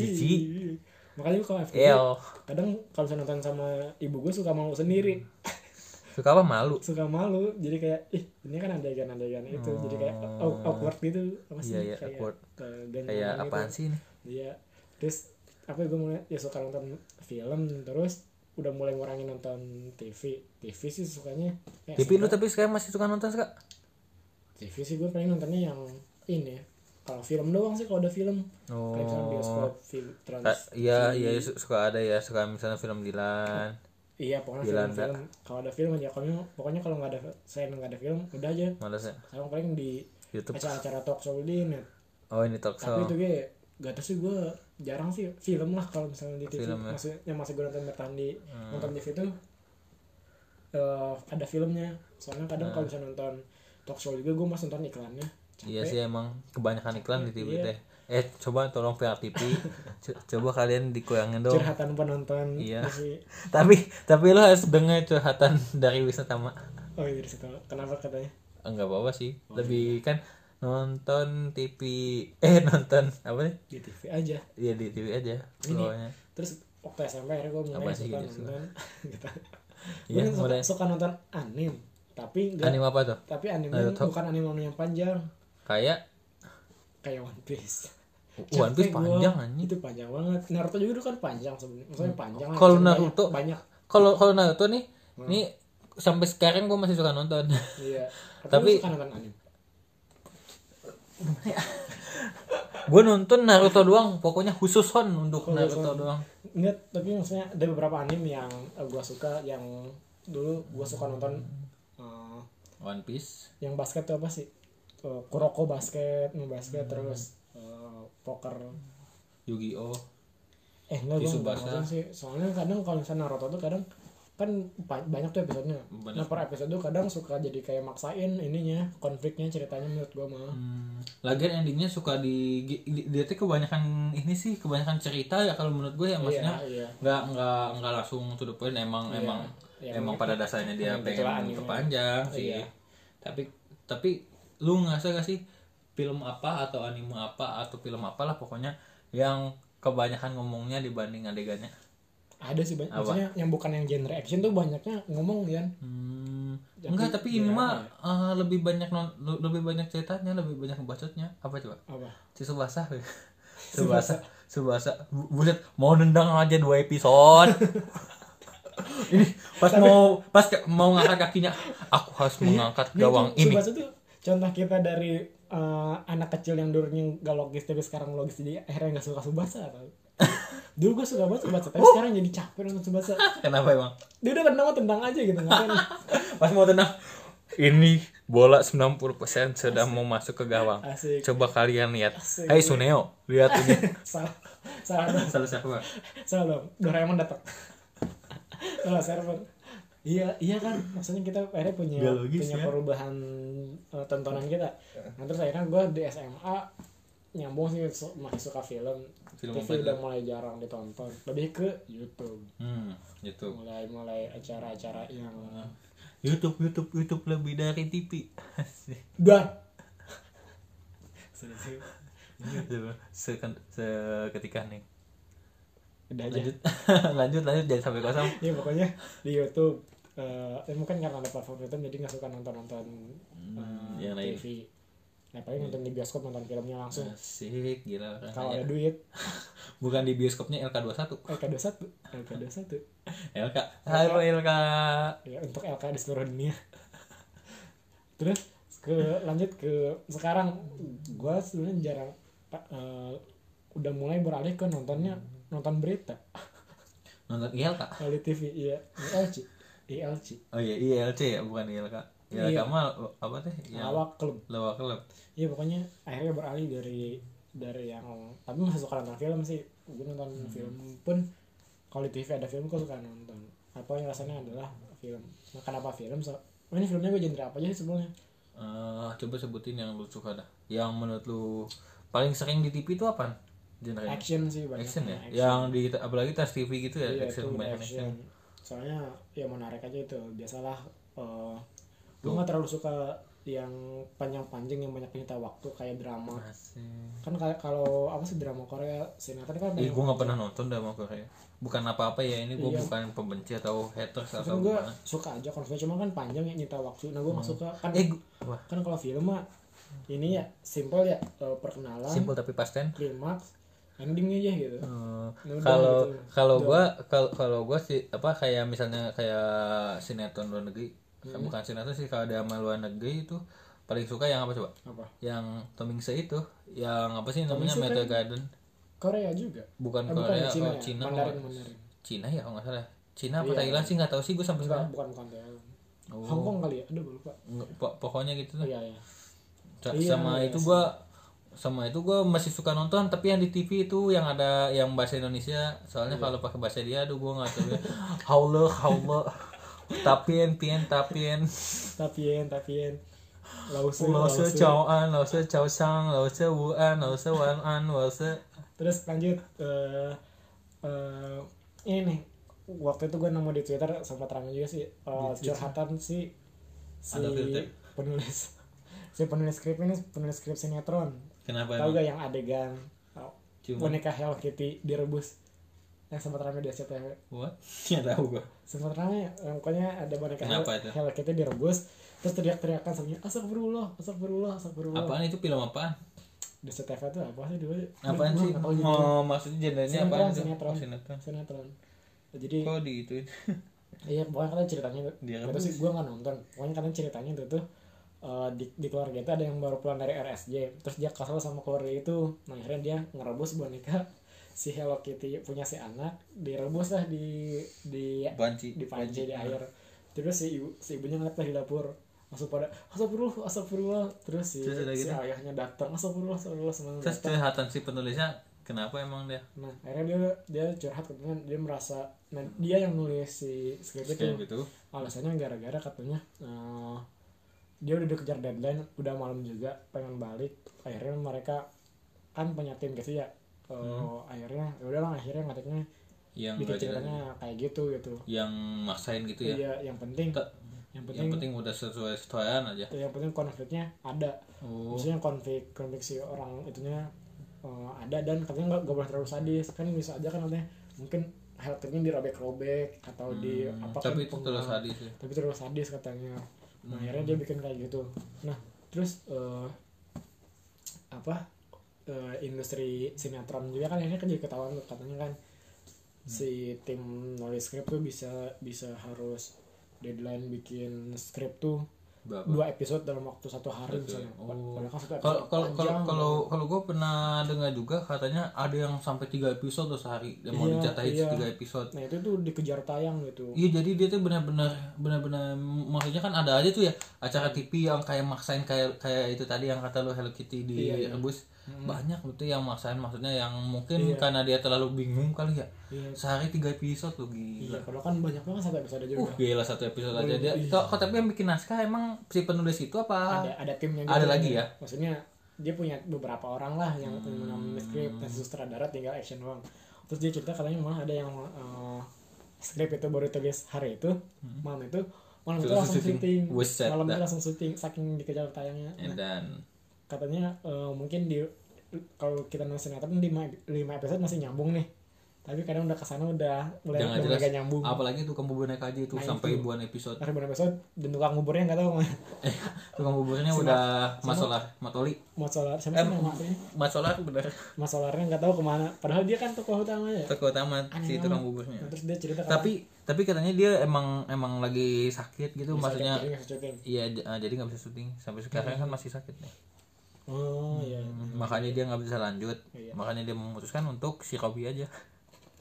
S1: jijik. Iya.
S2: makanya gua kalau FTV
S1: el
S2: kadang kalau misalnya nonton sama ibu gue suka malu sendiri
S1: suka apa malu
S2: suka malu jadi kayak ih ini kan adegan adegan itu jadi kayak aw- awkward gitu apa sih
S1: Hmm. Iya, iya,
S2: kayak
S1: awkward.
S2: eh, ganjelan
S1: kayak
S2: gitu.
S1: apaan sih ini
S2: iya terus apa gue mulai ya suka nonton film terus udah mulai ngurangin nonton TV TV sih sukanya kayak
S1: TV lu
S2: suka-
S1: tapi sekarang masih suka nonton kak
S2: TV sih gue pengen nontonnya yang ini ya kalau film doang sih kalau ada film kayak misalnya bioskop
S1: oh
S2: film trans
S1: Ka- iya
S2: TV.
S1: iya su- suka ada ya suka misalnya film Dilan
S2: iya pokoknya
S1: Gila,
S2: film-film kalau ada film aja pokoknya pokoknya kalau nggak ada saya nggak ada film udah aja
S1: males ya
S2: sekarang paling di
S1: YouTube
S2: acara-acara talk show di net
S1: oh ini talk
S2: tapi
S1: show
S2: itu gue gak tau sih gue jarang sih film lah kalau misalnya di TV
S1: Film ya? Hmm.
S2: maksudnya yang masih gue nonton bertahan di nonton TV itu eh, ada filmnya soalnya kadang
S1: Hmm.
S2: kalau misalnya nonton talk show juga gue masih nonton iklannya
S1: Iya sih emang kebanyakan iklan di TV
S2: Iya.
S1: teh. Eh coba tolong PRTP, co- coba kalian dikurangin dong.
S2: curhatan penonton
S1: Iya.
S2: Jadi-
S1: tapi tapi lo harus dengar curhatan dari Wisnu Tama.
S2: oh iya dari situ kenapa katanya
S1: Enggak apa-apa sih.
S2: Oh, iya.
S1: Lebih kan nonton TV eh nonton apa sih?
S2: di TV aja
S1: Ya di TV aja.
S2: Ini.
S1: Pokoknya.
S2: terus waktu SMP akhirnya gue mulai
S1: Apa sih
S2: suka
S1: gitu, suka?
S2: nonton gitu
S1: Iya,
S2: Gua suka,
S1: mulai.
S2: suka nonton anime tapi enggak
S1: Anime apa tuh?
S2: tapi anime
S1: Naruto.
S2: bukan anime yang panjang
S1: Kayak
S2: kayak One Piece
S1: One Piece
S2: Capek gua.
S1: panjang anjing. Hmm.
S2: Itu panjang banget. Naruto juga dulu kan panjang sebenarnya. Maksudnya panjang. lah,
S1: Kalau
S2: ceritanya
S1: Naruto-
S2: banyak.
S1: Kalau kalau Naruto nih,
S2: Hmm.
S1: nih sampai sekarang gue masih suka nonton.
S2: Iya.
S1: Tapi-
S2: Tapi lu suka nonton anime.
S1: gue nonton Naruto doang, pokoknya khusus Hon untuk
S2: Khusus
S1: Naruto
S2: Hon.
S1: doang.
S2: Enggak, tapi maksudnya ada beberapa anime yang eh, gua suka yang dulu gua suka nonton eh,
S1: One Piece.
S2: yang basket tuh apa sih? Eh, Kuroko basket, no
S1: Hmm.
S2: basket terus
S1: Oh.
S2: eh, poker.
S1: Yu-Gi-Oh.
S2: Eh, enggak gua enggak
S1: Tsubasa.
S2: nonton sih. Soalnya kadang kalau misalnya Naruto tuh kadang kan ba- banyak tuh episodenya.
S1: Banyak.
S2: Nah, per episode tuh kadang suka jadi kayak maksain ininya, konfliknya ceritanya menurut gua mah.
S1: Hmm, Lagian endingnya suka di, di- dia tuh kebanyakan ini sih kebanyakan cerita ya kalau menurut gue ya maksudnya
S2: iya.
S1: nggak nggak nggak langsung to the point emang
S2: Iya.
S1: emang
S2: Iya,
S1: emang
S2: mungkin.
S1: pada dasarnya dia
S2: Emang gitu lah
S1: pengen
S2: anime.
S1: perpanjang sih
S2: Iya.
S1: tapi tapi lu ngerasa gak sih film apa atau anime apa atau film apalah pokoknya yang kebanyakan ngomongnya dibanding adegannya
S2: ada sih banyak
S1: Apa?
S2: maksudnya yang bukan yang genre action tuh banyaknya ngomong kan
S1: Hmm,
S2: Tapi,
S1: enggak tapi ini
S2: ya,
S1: mah eh, lebih banyak non- lebih banyak ceritanya lebih banyak bacotnya apa coba
S2: apa
S1: Si Subasa. Subasa. Subasa. Bu- Buset, mau nendang aja dua episode. Ini pas mau pas ke- mau ngangkat kakinya, aku harus mengangkat gawang
S2: itu,
S1: ini.
S2: Tsubasa tuh contoh kita dari eh, anak kecil yang dulunya gak logis tapi sekarang logis jadi akhirnya gak suka Subasa tau. dulu gue suka banget Subasa tapi
S1: Oh.
S2: sekarang jadi capek nonton Subasa
S1: Kenapa emang?
S2: dia udah tendang mah tendang aja gitu ngapain
S1: Pas mau tendang, ini bola 90% sudah mau masuk ke gawang.
S2: Asik.
S1: Coba kalian lihat.
S2: Asik.
S1: Hai Suneo, lihat ini.
S2: salah salah dong
S1: Salah siapa?
S2: salah dong Doraemon datang salah server iya iya kan maksudnya kita akhirnya punya
S1: Nggak logis,
S2: punya
S1: ya?
S2: perubahan eh, tontonan kita
S1: Iya.
S2: nah terus akhirnya gue di SMA nyambung sih su- masih suka film,
S1: Film apa
S2: TV udah
S1: itu?
S2: mulai jarang ditonton lebih ke YouTube
S1: Hmm, YouTube.
S2: mulai mulai acara-acara yang
S1: Ah. YouTube, YouTube, YouTube lebih dari TV.
S2: dan
S1: Seken- Seketika nih.
S2: udah aja
S1: lanjut lanjut lanjut jangan sampai kosong
S2: ya pokoknya di YouTube eh ya mungkin karena ada platform YouTube jadi nggak suka nonton nonton
S1: Hmm, yang lain. Nah,
S2: TV nah paling nonton di bioskop nonton filmnya langsung
S1: asik gila orang
S2: kalau
S1: kaya.
S2: ada duit
S1: bukan di bioskopnya LK21
S2: LK21 LK21
S1: LK halo LK
S2: ya untuk LK di seluruh dunia terus ke lanjut ke sekarang gue sebenarnya jarang pa- eh, udah mulai beralih ke nontonnya nonton berita
S1: nonton ILK
S2: di TV iya ILC ILC
S1: oh iya ILC ya bukan ILK ILK Ya,
S2: Iya.
S1: mah apa teh yang
S2: awak klub
S1: lawa klub
S2: iya pokoknya akhirnya beralih dari dari yang tapi masih suka nonton film sih gue nonton
S1: Hmm.
S2: film pun kalau di TV ada film gue suka nonton apa yang rasanya adalah film nah, kenapa film so oh, ini filmnya gue genre apa aja sih sebelumnya
S1: Eh, coba sebutin yang lu suka dah yang menurut lu paling sering di TV itu apa genre
S2: action sih banyak
S1: action ya
S2: action.
S1: yang di apalagi tas TV gitu ya
S2: Iya,
S1: action
S2: itu
S1: banyak
S2: action.
S1: action
S2: soalnya ya menarik aja itu biasalah eh gue
S1: Tuh.
S2: nggak terlalu suka yang panjang-panjang yang banyak cerita waktu kayak drama
S1: Nah. Asik.
S2: kan kayak kalau apa sih drama Korea sinetron kan
S1: Ih,
S2: banyak-
S1: gue gak pernah nonton drama Korea. Bukan apa-apa ya, ini gue
S2: Iya.
S1: bukan pembenci atau haters
S2: kan
S1: atau
S2: gue
S1: gimana.
S2: suka aja konsepnya cuma kan panjang ya nyita waktu nah gue nggak suka kan
S1: Eh, gu- wah,
S2: kan kalau film mah ini ya simple ya eh, perkenalan
S1: simple tapi pasten.
S2: klimaks endingnya aja gitu
S1: Eh,
S2: Nah, Ya udah
S1: Kalau
S2: gitu.
S1: kalau gue kalau kalau gue sih apa kayak misalnya kayak sinetron luar negeri,
S2: Hmm.
S1: bukan sinetron sih kalau drama luar negeri itu paling suka yang apa coba?
S2: apa
S1: Yang Tom Hanks itu, yang apa sih namanya
S2: Hanks
S1: Metal Garden?
S2: Korea juga
S1: Bukan
S2: Eh,
S1: Korea,
S2: Cina,
S1: oh,
S2: ya.
S1: Cina, kalau-
S2: Mandarin Mandarin
S1: Cina ya kalau nggak salah. Cina apa
S2: Iya.
S1: Thailand sih nggak tahu sih gue sampai
S2: bukan
S1: sekarang.
S2: bukan Korea
S1: Oh.
S2: Hongkong kali ya aduh gue lupa
S1: Nge- po- Pokoknya gitu tuh.
S2: iya iya
S1: Sa-
S2: Iya,
S1: sama
S2: iya
S1: itu
S2: sih.
S1: gua sama itu gua masih suka nonton tapi yang di TV itu yang ada yang bahasa Indonesia soalnya kalau pakai bahasa dia aduh gua nggak tahu ya haula haula tapien pien tapien
S2: tapien tapien lause
S1: lao se
S2: lause.
S1: chao an lao se chao sang lao se wu an lao se wan an lao se
S2: terus lanjut eh eh, ini nih waktu itu gue nemu di twitter sempat rame juga sih eh, curhatan si si
S1: Ada ya? filter.
S2: penulis si penulis skrip ini penulis skrip sinetron
S1: kenapa
S2: tahu
S1: emang?
S2: gak yang adegan oh,
S1: Ciuman.
S2: boneka Hello Kitty direbus yang sempat rame di SCTV
S1: what nggak tahu gua
S2: sempat rame eh, pokoknya ada boneka Hello,
S1: Kenapa itu?
S2: Hello Kitty direbus terus teriak-teriakan sambil astagfirullah astagfirullah astagfirullah
S1: apaan itu film apaan
S2: di SCTV itu apa sih dulu
S1: apaan
S2: Gua
S1: sih
S2: nggak tahu gitu.
S1: oh maksudnya jendernya apaan
S2: sinetron
S1: itu
S2: sinetron
S1: Oh, sinetron
S2: sinetron Nah, jadi
S1: kok digituin
S2: iya pokoknya kalian ceritanya itu
S1: Dia
S2: itu sih gue nggak nonton pokoknya kalian ceritanya itu tuh eh, di, di keluarga itu ada yang baru pulang dari RSJ terus dia kesel sama keluarga itu nah akhirnya dia ngerebus boneka si Hello Kitty punya si anak direbus lah di di
S1: banci
S2: di panci di air terus si ibu si ibunya ngeliat dari dapur masuk pada astagfirullah astagfirullah terus si,
S1: Terus udah
S2: si
S1: gitu?
S2: ayahnya datang astagfirullah astagfirullah semuanya
S1: terus curhatan si penulisnya kenapa emang dia
S2: Nah, akhirnya dia dia curhat katanya dia merasa nah, dia yang nulis si skrip
S1: kayak
S2: itu.
S1: gitu
S2: Alasannya gara-gara katanya eh, dia udah dikejar deadline, udah malam juga, pengen balik. Akhirnya mereka kan punya tim gitu ya. Eh, akhirnya ya udahlah akhirnya ngetiknya
S1: Hmm. yang
S2: bikin
S1: nggak jelas.
S2: ceritanya kayak gitu gitu.
S1: yang maksain gitu ya.
S2: Iya, yang penting
S1: Ta-
S2: yang
S1: yang
S2: penting
S1: penting udah sesuai sesuaian aja.
S2: yang penting konfliknya ada.
S1: Oh.
S2: Maksudnya konflik konflik si orang itunya eh, ada dan katanya nggak nggak boleh terlalu sadis kan bisa aja kan katanya mungkin helmnya dirobek-robek atau di apa
S1: Hmm,
S2: kan
S1: tapi itu terus sadis Hmm. ya.
S2: tapi terlalu sadis katanya nah akhirnya dia bikin kayak gitu nah terus eh, apa eh, industri sinetron juga kan akhirnya kan jadi ketahuan tuh, katanya kan
S1: Hmm.
S2: si tim nulis skrip tuh bisa bisa harus deadline bikin skrip tuh
S1: Berapa?
S2: dua episode dalam waktu satu hari misalnya.
S1: Oh.
S2: Padahal kan satu episode
S1: Kalau kalau kalau
S2: panjang.
S1: kalau kalau gue pernah dengar juga katanya ada yang sampai tiga episode tuh sehari yang mau
S2: Iya,
S1: dicatahin
S2: iya.
S1: tiga episode.
S2: nah itu tuh dikejar tayang gitu.
S1: Iya jadi dia tuh benar-benar benar-benar maksudnya kan ada aja tuh ya acara TV yang kayak maksain kayak kayak itu tadi yang kata lo Hello Kitty
S2: Iya,
S1: di rebus banyak betul yang maksain maksudnya yang mungkin karena dia terlalu bingung kali ya
S2: Iya.
S1: sehari tiga episode tuh gila.
S2: Iya, Oh, padahal kan banyak banget satu episode juga.
S1: Uh, gila satu episode aja dia. Kok kok tapi yang bikin naskah emang si penulis itu apa?
S2: ada ada timnya
S1: ah. Ada
S2: gitu.
S1: lagi ya? Hmm.
S2: Maksudnya dia punya beberapa orang lah yang yang menulis skrip dan sutradara tinggal action doang. Terus dia cerita katanya malah ada yang eh, skrip itu baru tulis hari itu, malam itu malam itu
S1: Hmm. Terus
S2: langsung
S1: syuting.
S2: syuting,
S1: Buset
S2: malam itu
S1: dah.
S2: langsung syuting saking dikejar tayangnya. Nah,
S1: Eh, Dan
S2: katanya eh, mungkin di kalau kita nulis sinetron 5 lima episode masih nyambung nih tapi kadang udah kesana udah mulai
S1: jangan
S2: udah mulai
S1: jelas.
S2: gak nyambung
S1: Apalagi tukang bubur naik aja
S2: Nah,
S1: itu sampai ribuan episode.
S2: akhir bulan episode dan tukang nguburnya nggak tahu kemana.
S1: Eh, tukang buburnya udah masalah matoli.
S2: mau solar siapa sih nama aslinya?
S1: Masalah bener.
S2: Mas solarnya nggak tahu kemana padahal dia kan tokoh utamanya
S1: Tokoh utama si tukang
S2: Nah,
S1: buburnya.
S2: terus dia cerita kalau
S1: Tapi tapi katanya dia emang emang lagi sakit gitu maksudnya
S2: jadi nggak syuting
S1: iya j- eh, jadi nggak bisa syuting sampai sekarang kan masih sakit nih.
S2: oh iya
S1: Makanya dia nggak bisa lanjut.
S2: Iya.
S1: Makanya dia memutuskan untuk si Robi aja.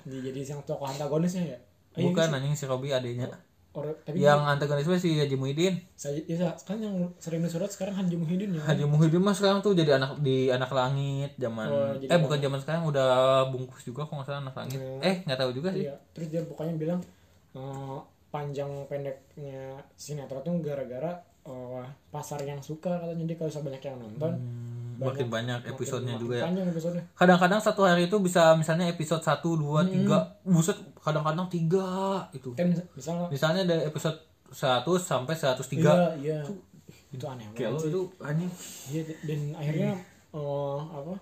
S2: Dia jadi yang tokoh antagonisnya ya Eh, ini
S1: Bukan anjing Oh, iya, si Oh, iya. Robi adanya.
S2: or- tapi
S1: Yang antagonisme si Haji Muhyiddin.
S2: saya ya, sa- kan yang sering disurat sekarang Haji Muhyiddin ya
S1: Haji Muhyiddin mah sekarang tuh jadi anak di anak langit zaman
S2: Oh, jadi
S1: eh bukan zaman sekarang udah bungkus juga kok nggak salah anak langit eh nggak tahu juga sih
S2: Iya, terus dia pokoknya bilang eh, panjang pendeknya sinetron tuh gara-gara eh, pasar yang suka katanya dia kalau bisa banyak yang nonton
S1: makin banyak episodenya juga ya
S2: Panjang episodenya.
S1: kadang-kadang satu hari itu bisa misalnya episode 1, 2, 3 buset kadang-kadang gitu. 3 itu
S2: Kan mis- misalnya
S1: misalnya dari episode 100 sampai 103
S2: iya iya itu aneh
S1: kayak
S2: banget.
S1: lo itu anjing
S2: Iya dan akhirnya eh, apa?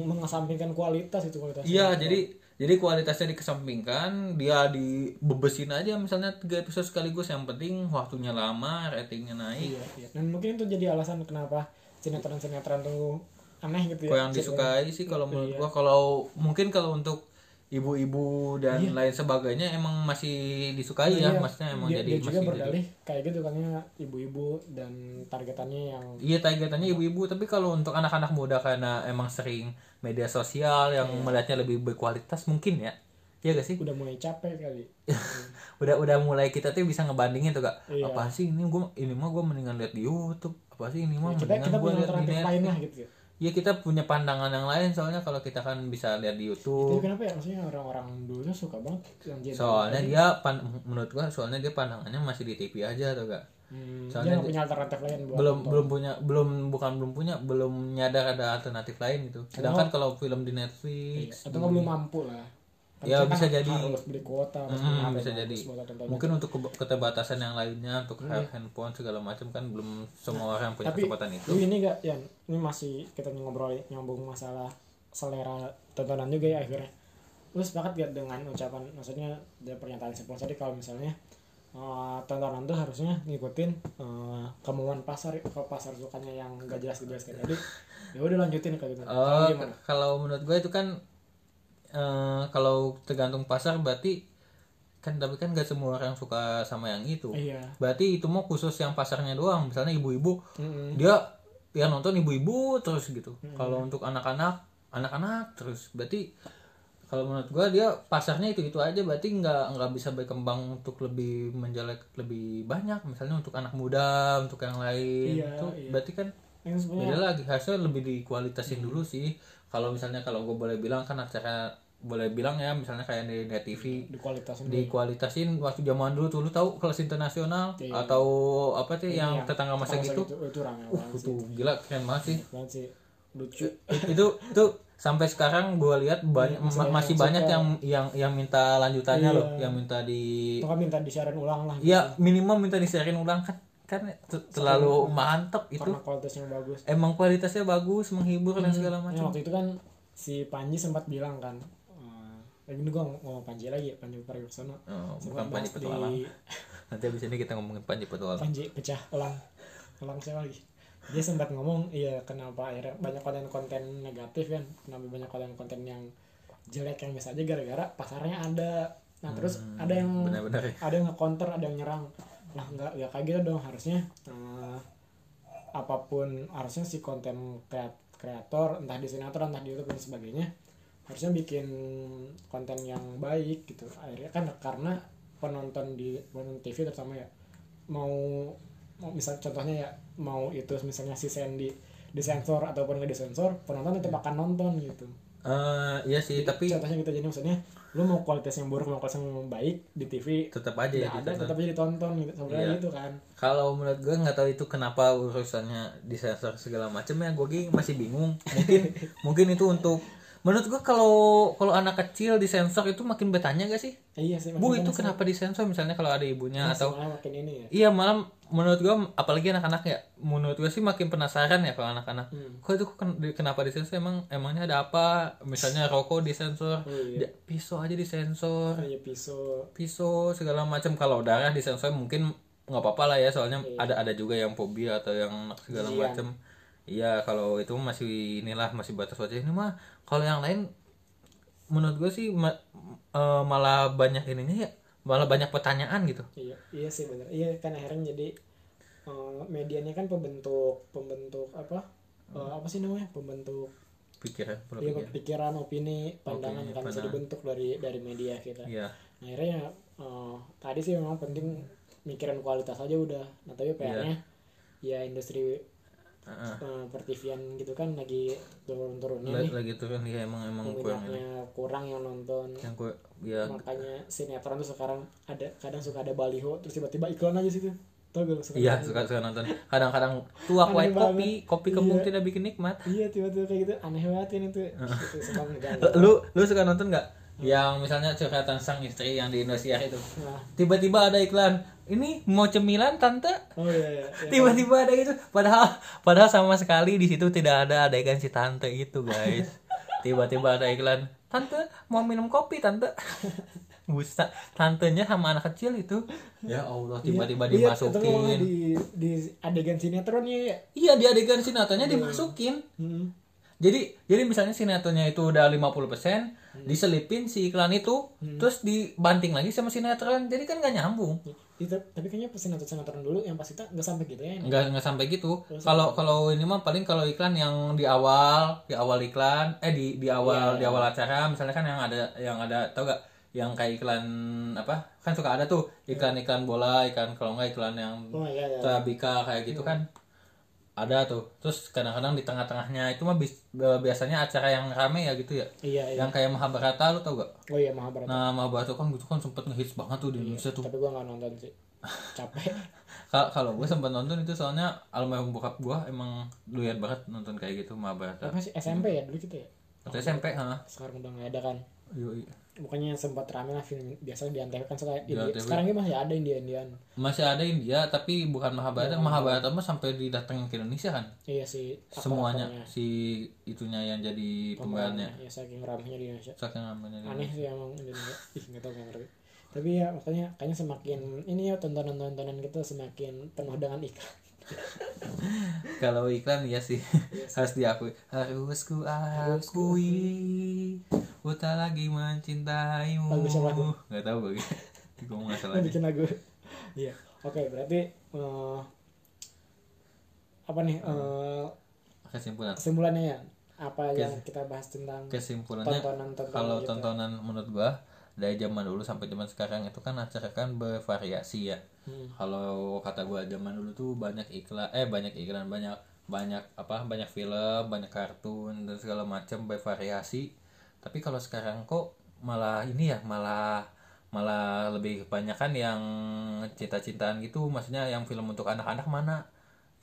S2: mengesampingkan kualitas itu kualitas.
S1: Iya, jadi jadi kualitasnya dikesampingkan, dia dibebesin aja misalnya tiga episode sekaligus yang penting waktunya lama, ratingnya naik.
S2: Iya, iya. Dan mungkin itu jadi alasan kenapa sinetron-sinetron tuh aneh gitu ya.
S1: Kok yang disukai sih kalau
S2: Iya.
S1: menurut gua kalau mungkin kalau untuk ibu-ibu dan
S2: Iya.
S1: lain sebagainya emang masih disukai ya, maksudnya emang
S2: dia,
S1: jadi
S2: dia juga
S1: masih jadi-
S2: berdalih kayak gitu kan ya ibu-ibu dan targetannya yang
S1: Iya targetannya ibu-ibu tapi kalau untuk anak-anak muda karena emang sering media sosial yang
S2: Iya.
S1: melihatnya lebih berkualitas mungkin ya. Iya gak sih?
S2: udah mulai capek kali.
S1: udah udah mulai kita tuh bisa ngebandingin tuh kak
S2: Iya.
S1: apa sih ini gua ini mah gue mendingan lihat di YouTube apa sih ini mah
S2: Iya, Kita
S1: Ah, mendingan
S2: kita
S1: gue
S2: punya
S1: lihat di
S2: alternatif
S1: net
S2: lain lah gitu.
S1: ya kita punya pandangan yang lain soalnya kalau kita kan bisa lihat di
S2: Tapi
S1: YouTube
S2: kenapa ya maksudnya orang-orang dulu tuh suka banget yang Hmm, genre.
S1: soalnya dia pan menurut gua soalnya dia pandangannya masih di TV aja tuh kak
S2: Hmm, dia nggak punya alternatif lain buat
S1: belum belum punya belum bukan belum punya belum nyadar ada alternatif lain gitu
S2: Iya.
S1: sedangkan kalau film di Netflix
S2: atau nggak belum mampu lah. Kan
S1: Hmm. Ya,
S2: kita
S1: bisa
S2: kan
S1: jadi.
S2: harus beli kuota, harus
S1: Hmm,
S2: beli HP,
S1: bisa
S2: harus
S1: jadi
S2: buat alternatif.
S1: mungkin untuk kebe- keterbatasan yang lainnya untuk
S2: Iya.
S1: handphone segala macam kan belum
S2: Nah,
S1: semua orang punya kesempatan itu
S2: Lu ini gak Yan, ini masih kita ngobrol nyambung masalah selera tontonan juga ya akhirnya. Lu sepakat gak dengan ucapan maksudnya dari pernyataan Sepul tadi kalau misalnya eh, tontonan tuh harusnya ngikutin eh, kemauan pasar ke pasar sukanya yang gak jelas jelas kayak tadi. Ya udah lanjutin kayak gitu.
S1: Oh,
S2: Kalau gimana?
S1: kalau menurut gue itu kan eh, kalau tergantung pasar berarti kan tapi kan gak semua orang suka sama yang itu.
S2: Iya.
S1: Berarti itu mau khusus yang pasarnya doang. Misalnya ibu-ibu,
S2: Hmm.
S1: dia yang nonton ibu-ibu terus gitu. Kalau untuk anak-anak, anak-anak terus. Berarti kalau menurut gue dia pasarnya itu itu aja. Berarti nggak nggak bisa berkembang untuk lebih menjelek lebih banyak. Misalnya untuk anak muda, untuk yang lain.
S2: Iya,
S1: Itu
S2: iya.
S1: Berarti kan
S2: Yang sebenarnya
S1: beda lagi harusnya lebih dikualitasin dulu sih kalau misalnya kalau gue boleh bilang kan acara boleh bilang ya misalnya kayak di net TV
S2: di kualitas
S1: dikualitasin waktu zaman dulu tuh lu tahu kelas internasional atau apa sih yang tetangga Iya. masa
S2: Iya. itu
S1: gitu
S2: itu rame banget
S1: itu gila keren banget sih
S2: banget sih. Lucu.
S1: itu itu sampai sekarang gue lihat banyak ma- masih banyak yang yang yang minta lanjutannya loh yang minta di
S2: Itu kan minta di-sharein ulang lah
S1: ya minimal minta diserin ulang kan kan ter- terlalu mantep itu
S2: karena kualitasnya bagus.
S1: emang kualitasnya bagus menghibur dan segala macam
S2: Ya, waktu itu kan si Panji sempat bilang kan, eh, lagi ini gue ngomong Panji lagi, Panji Pragiwaksono.
S1: Oh, bukan
S2: Sempat
S1: Panji
S2: bahas
S1: Petualang.
S2: di
S1: Nanti abis ini kita ngomongin Panji Petualang.
S2: Panji pecah elang, elang siapa lagi? Dia sempat ngomong, iya kenapa akhirnya banyak konten-konten negatif kan, kenapa banyak konten-konten yang jelek yang biasa aja gara-gara pasarnya ada. Nah terus ada yang
S1: Hmm, Benar-benar. ya.
S2: ada yang nge-counter, ada yang nyerang. Nah, nggak ya kayak gitu dong harusnya. eh, apapun harusnya si konten kreat- kreator, entah di sinetron, entah di YouTube dan sebagainya, harusnya bikin konten yang baik gitu. Akhirnya kan karena penonton di penonton TV terutama ya mau mau misal contohnya ya mau itu misalnya si Sandy disensor ataupun nggak disensor penonton tetap akan nonton gitu
S1: Eh, iya sih, tapi
S2: contohnya gitu jadi maksudnya lu mau kualitas yang buruk mau kualitas yang baik di TV
S1: tetap aja ya.
S2: Kan Nggak ada tetap aja ditonton gitu
S1: Iya.
S2: sebenarnya gitu kan
S1: Kalau menurut gue nggak tahu itu kenapa urusannya disensor segala macam ya, gue gini masih bingung. Mungkin mungkin itu untuk menurut gue kalau kalau anak kecil disensor itu makin bertanya gak sih?
S2: Eh, iya sih makin
S1: Bu itu kenapa disensor misalnya kalau ada ibunya atau
S2: malah makin ini ya
S1: Iya malam menurut gua apalagi anak-anak ya menurut gua sih makin penasaran ya kalau anak-anak kok itu ken- di- kenapa disensor emang emangnya ada apa misalnya rokok disensor
S2: Iya.
S1: da- pisau aja disensor
S2: kayak pisau
S1: pisau segala macam kalau darah disensor mungkin nggak apa-apa lah ya soalnya ada ada juga yang fobia atau yang segala macam iya kalau itu masih inilah masih batas batas ini mah kalau yang lain menurut gua sih ma- eh, malah banyak ininya ya malah banyak pertanyaan gitu
S2: iya iya sih bener iya kan akhirnya jadi eh, medianya kan pembentuk pembentuk apa Eh,
S1: Hmm.
S2: apa sih namanya pembentuk
S1: pikiran pola
S2: iya,
S1: pikir.
S2: pikiran opini pandangan yang kan bisa dibentuk dari dari media kita
S1: Iya.
S2: akhirnya eh, tadi sih memang penting mikirin kualitas aja udah nah
S1: Iya.
S2: tapi PR-nya ya industri
S1: Heeh.
S2: eh, pertivian gitu kan lagi turun-turunnya
S1: Lagi, lagi turun ya emang emang kurang ini.
S2: banyaknya kurang yang nonton
S1: Yang gue ya
S2: makanya sinetron tuh sekarang ada kadang suka ada baliho terus tiba-tiba iklan aja situ tau gak lu suka
S1: Iya
S2: nonton?
S1: suka suka nonton. Kadang-kadang tuak
S2: Aneh
S1: white
S2: banget.
S1: kopi, kopi kembung
S2: Iya.
S1: tidak bikin nikmat.
S2: iya tiba-tiba kayak gitu aneh banget kan itu
S1: Ah.
S2: Itu suka banget.
S1: Lu lu suka nonton nggak? Yang misalnya curhatan sang istri yang di Indosiar itu.
S2: Nah,
S1: Tiba-tiba ada iklan. Ini mau cemilan tante?
S2: oh iya iya iya.
S1: Tiba-tiba ada itu. Padahal padahal sama sekali di situ tidak ada adegan si tante itu guys. Tiba-tiba ada iklan. Tante mau minum kopi tante. Busta, tantenya sama anak kecil itu. Ya Allah, tiba-tiba
S2: Iya, atau kalau
S1: dimasukin.
S2: nggak di di adegan sinetronnya ya
S1: Iya, di adegan sinetronnya dimasukin.
S2: hmm.
S1: Jadi jadi misalnya sinetronnya itu udah 50% Hmm. diselipin si iklan itu terus dibanting lagi sama sinetron. Jadi kan nggak nyambung.
S2: itu Iya, tapi kayaknya sinetron sinetron dulu yang pas itu nggak sampai gitu ya
S1: Nggak nggak sampai gitu. Kalau kalau ini mah paling kalau iklan yang di awal, di awal iklan eh di di awal di awal acara misalnya kan yang ada yang ada tau gak yang kayak iklan apa? Kan suka ada tuh iklan-iklan bola, iklan kalau nggak iklan yang
S2: oh iya iya
S1: Tabika kayak gitu kan ada tuh terus kadang-kadang di tengah-tengahnya itu mah bis- eh, biasanya acara yang rame ya gitu ya
S2: iya iya
S1: yang kayak Mahabharata lu tau gak
S2: oh iya Mahabharata
S1: nah Mahabharata kan gitu kan sempet ngehits banget tuh di Indonesia tuh
S2: tapi gue nggak nonton sih capek
S1: Ka- kalau gue sempet nonton itu soalnya almarhum bokap gue emang doyan banget nonton kayak gitu Mahabharata
S2: apa sih SMP ya dulu gitu ya
S1: atau SMP ha
S2: sekarang udah nggak ada kan
S1: Yoi.
S2: bukannya yang sempat rame lah film biasanya di antv kan suka
S1: Di
S2: Indi-
S1: Antv.
S2: sekarang ini masih ada India Indian
S1: masih ada India tapi bukan Mahabharata Iya, Mahabharata mah sampai didatengin ke Indonesia kan
S2: iya sih aktor-aktornya.
S1: semuanya si itunya yang jadi pembahannya
S2: ya saking ramenya di Indonesia
S1: saking namanya
S2: aneh sih emang Indonesia ih nggak tahu nggak ngerti tapi ya makanya kayaknya semakin ini ya tontonan tontonan kita semakin penuh dengan iklan
S1: Kalau iklan ya sih harus diakui. Harus ku akui. Ku tak lagi mencintaimu.
S2: Bagus apa tuh?
S1: Gak tau gue. Gue mau ngasal aja.
S2: Lu bikin lagu iya oke berarti eh, apa nih
S1: Hmm.
S2: eh,
S1: Kesimpulan.
S2: kesimpulannya ya apa yang kita bahas tentang
S1: Kesimpulannya
S2: tontonan-tontonan
S1: kalau
S2: gitu.
S1: tontonan menurut gua dari zaman dulu sampai zaman sekarang itu kan acara kan bervariasi ya.
S2: Hmm.
S1: Kalau kata gua zaman dulu tuh banyak iklan eh banyak iklan banyak banyak apa banyak film, banyak kartun dan segala macam bervariasi. Tapi kalau sekarang kok malah ini ya malah malah lebih kebanyakan yang cinta-cintaan gitu maksudnya yang film untuk anak-anak mana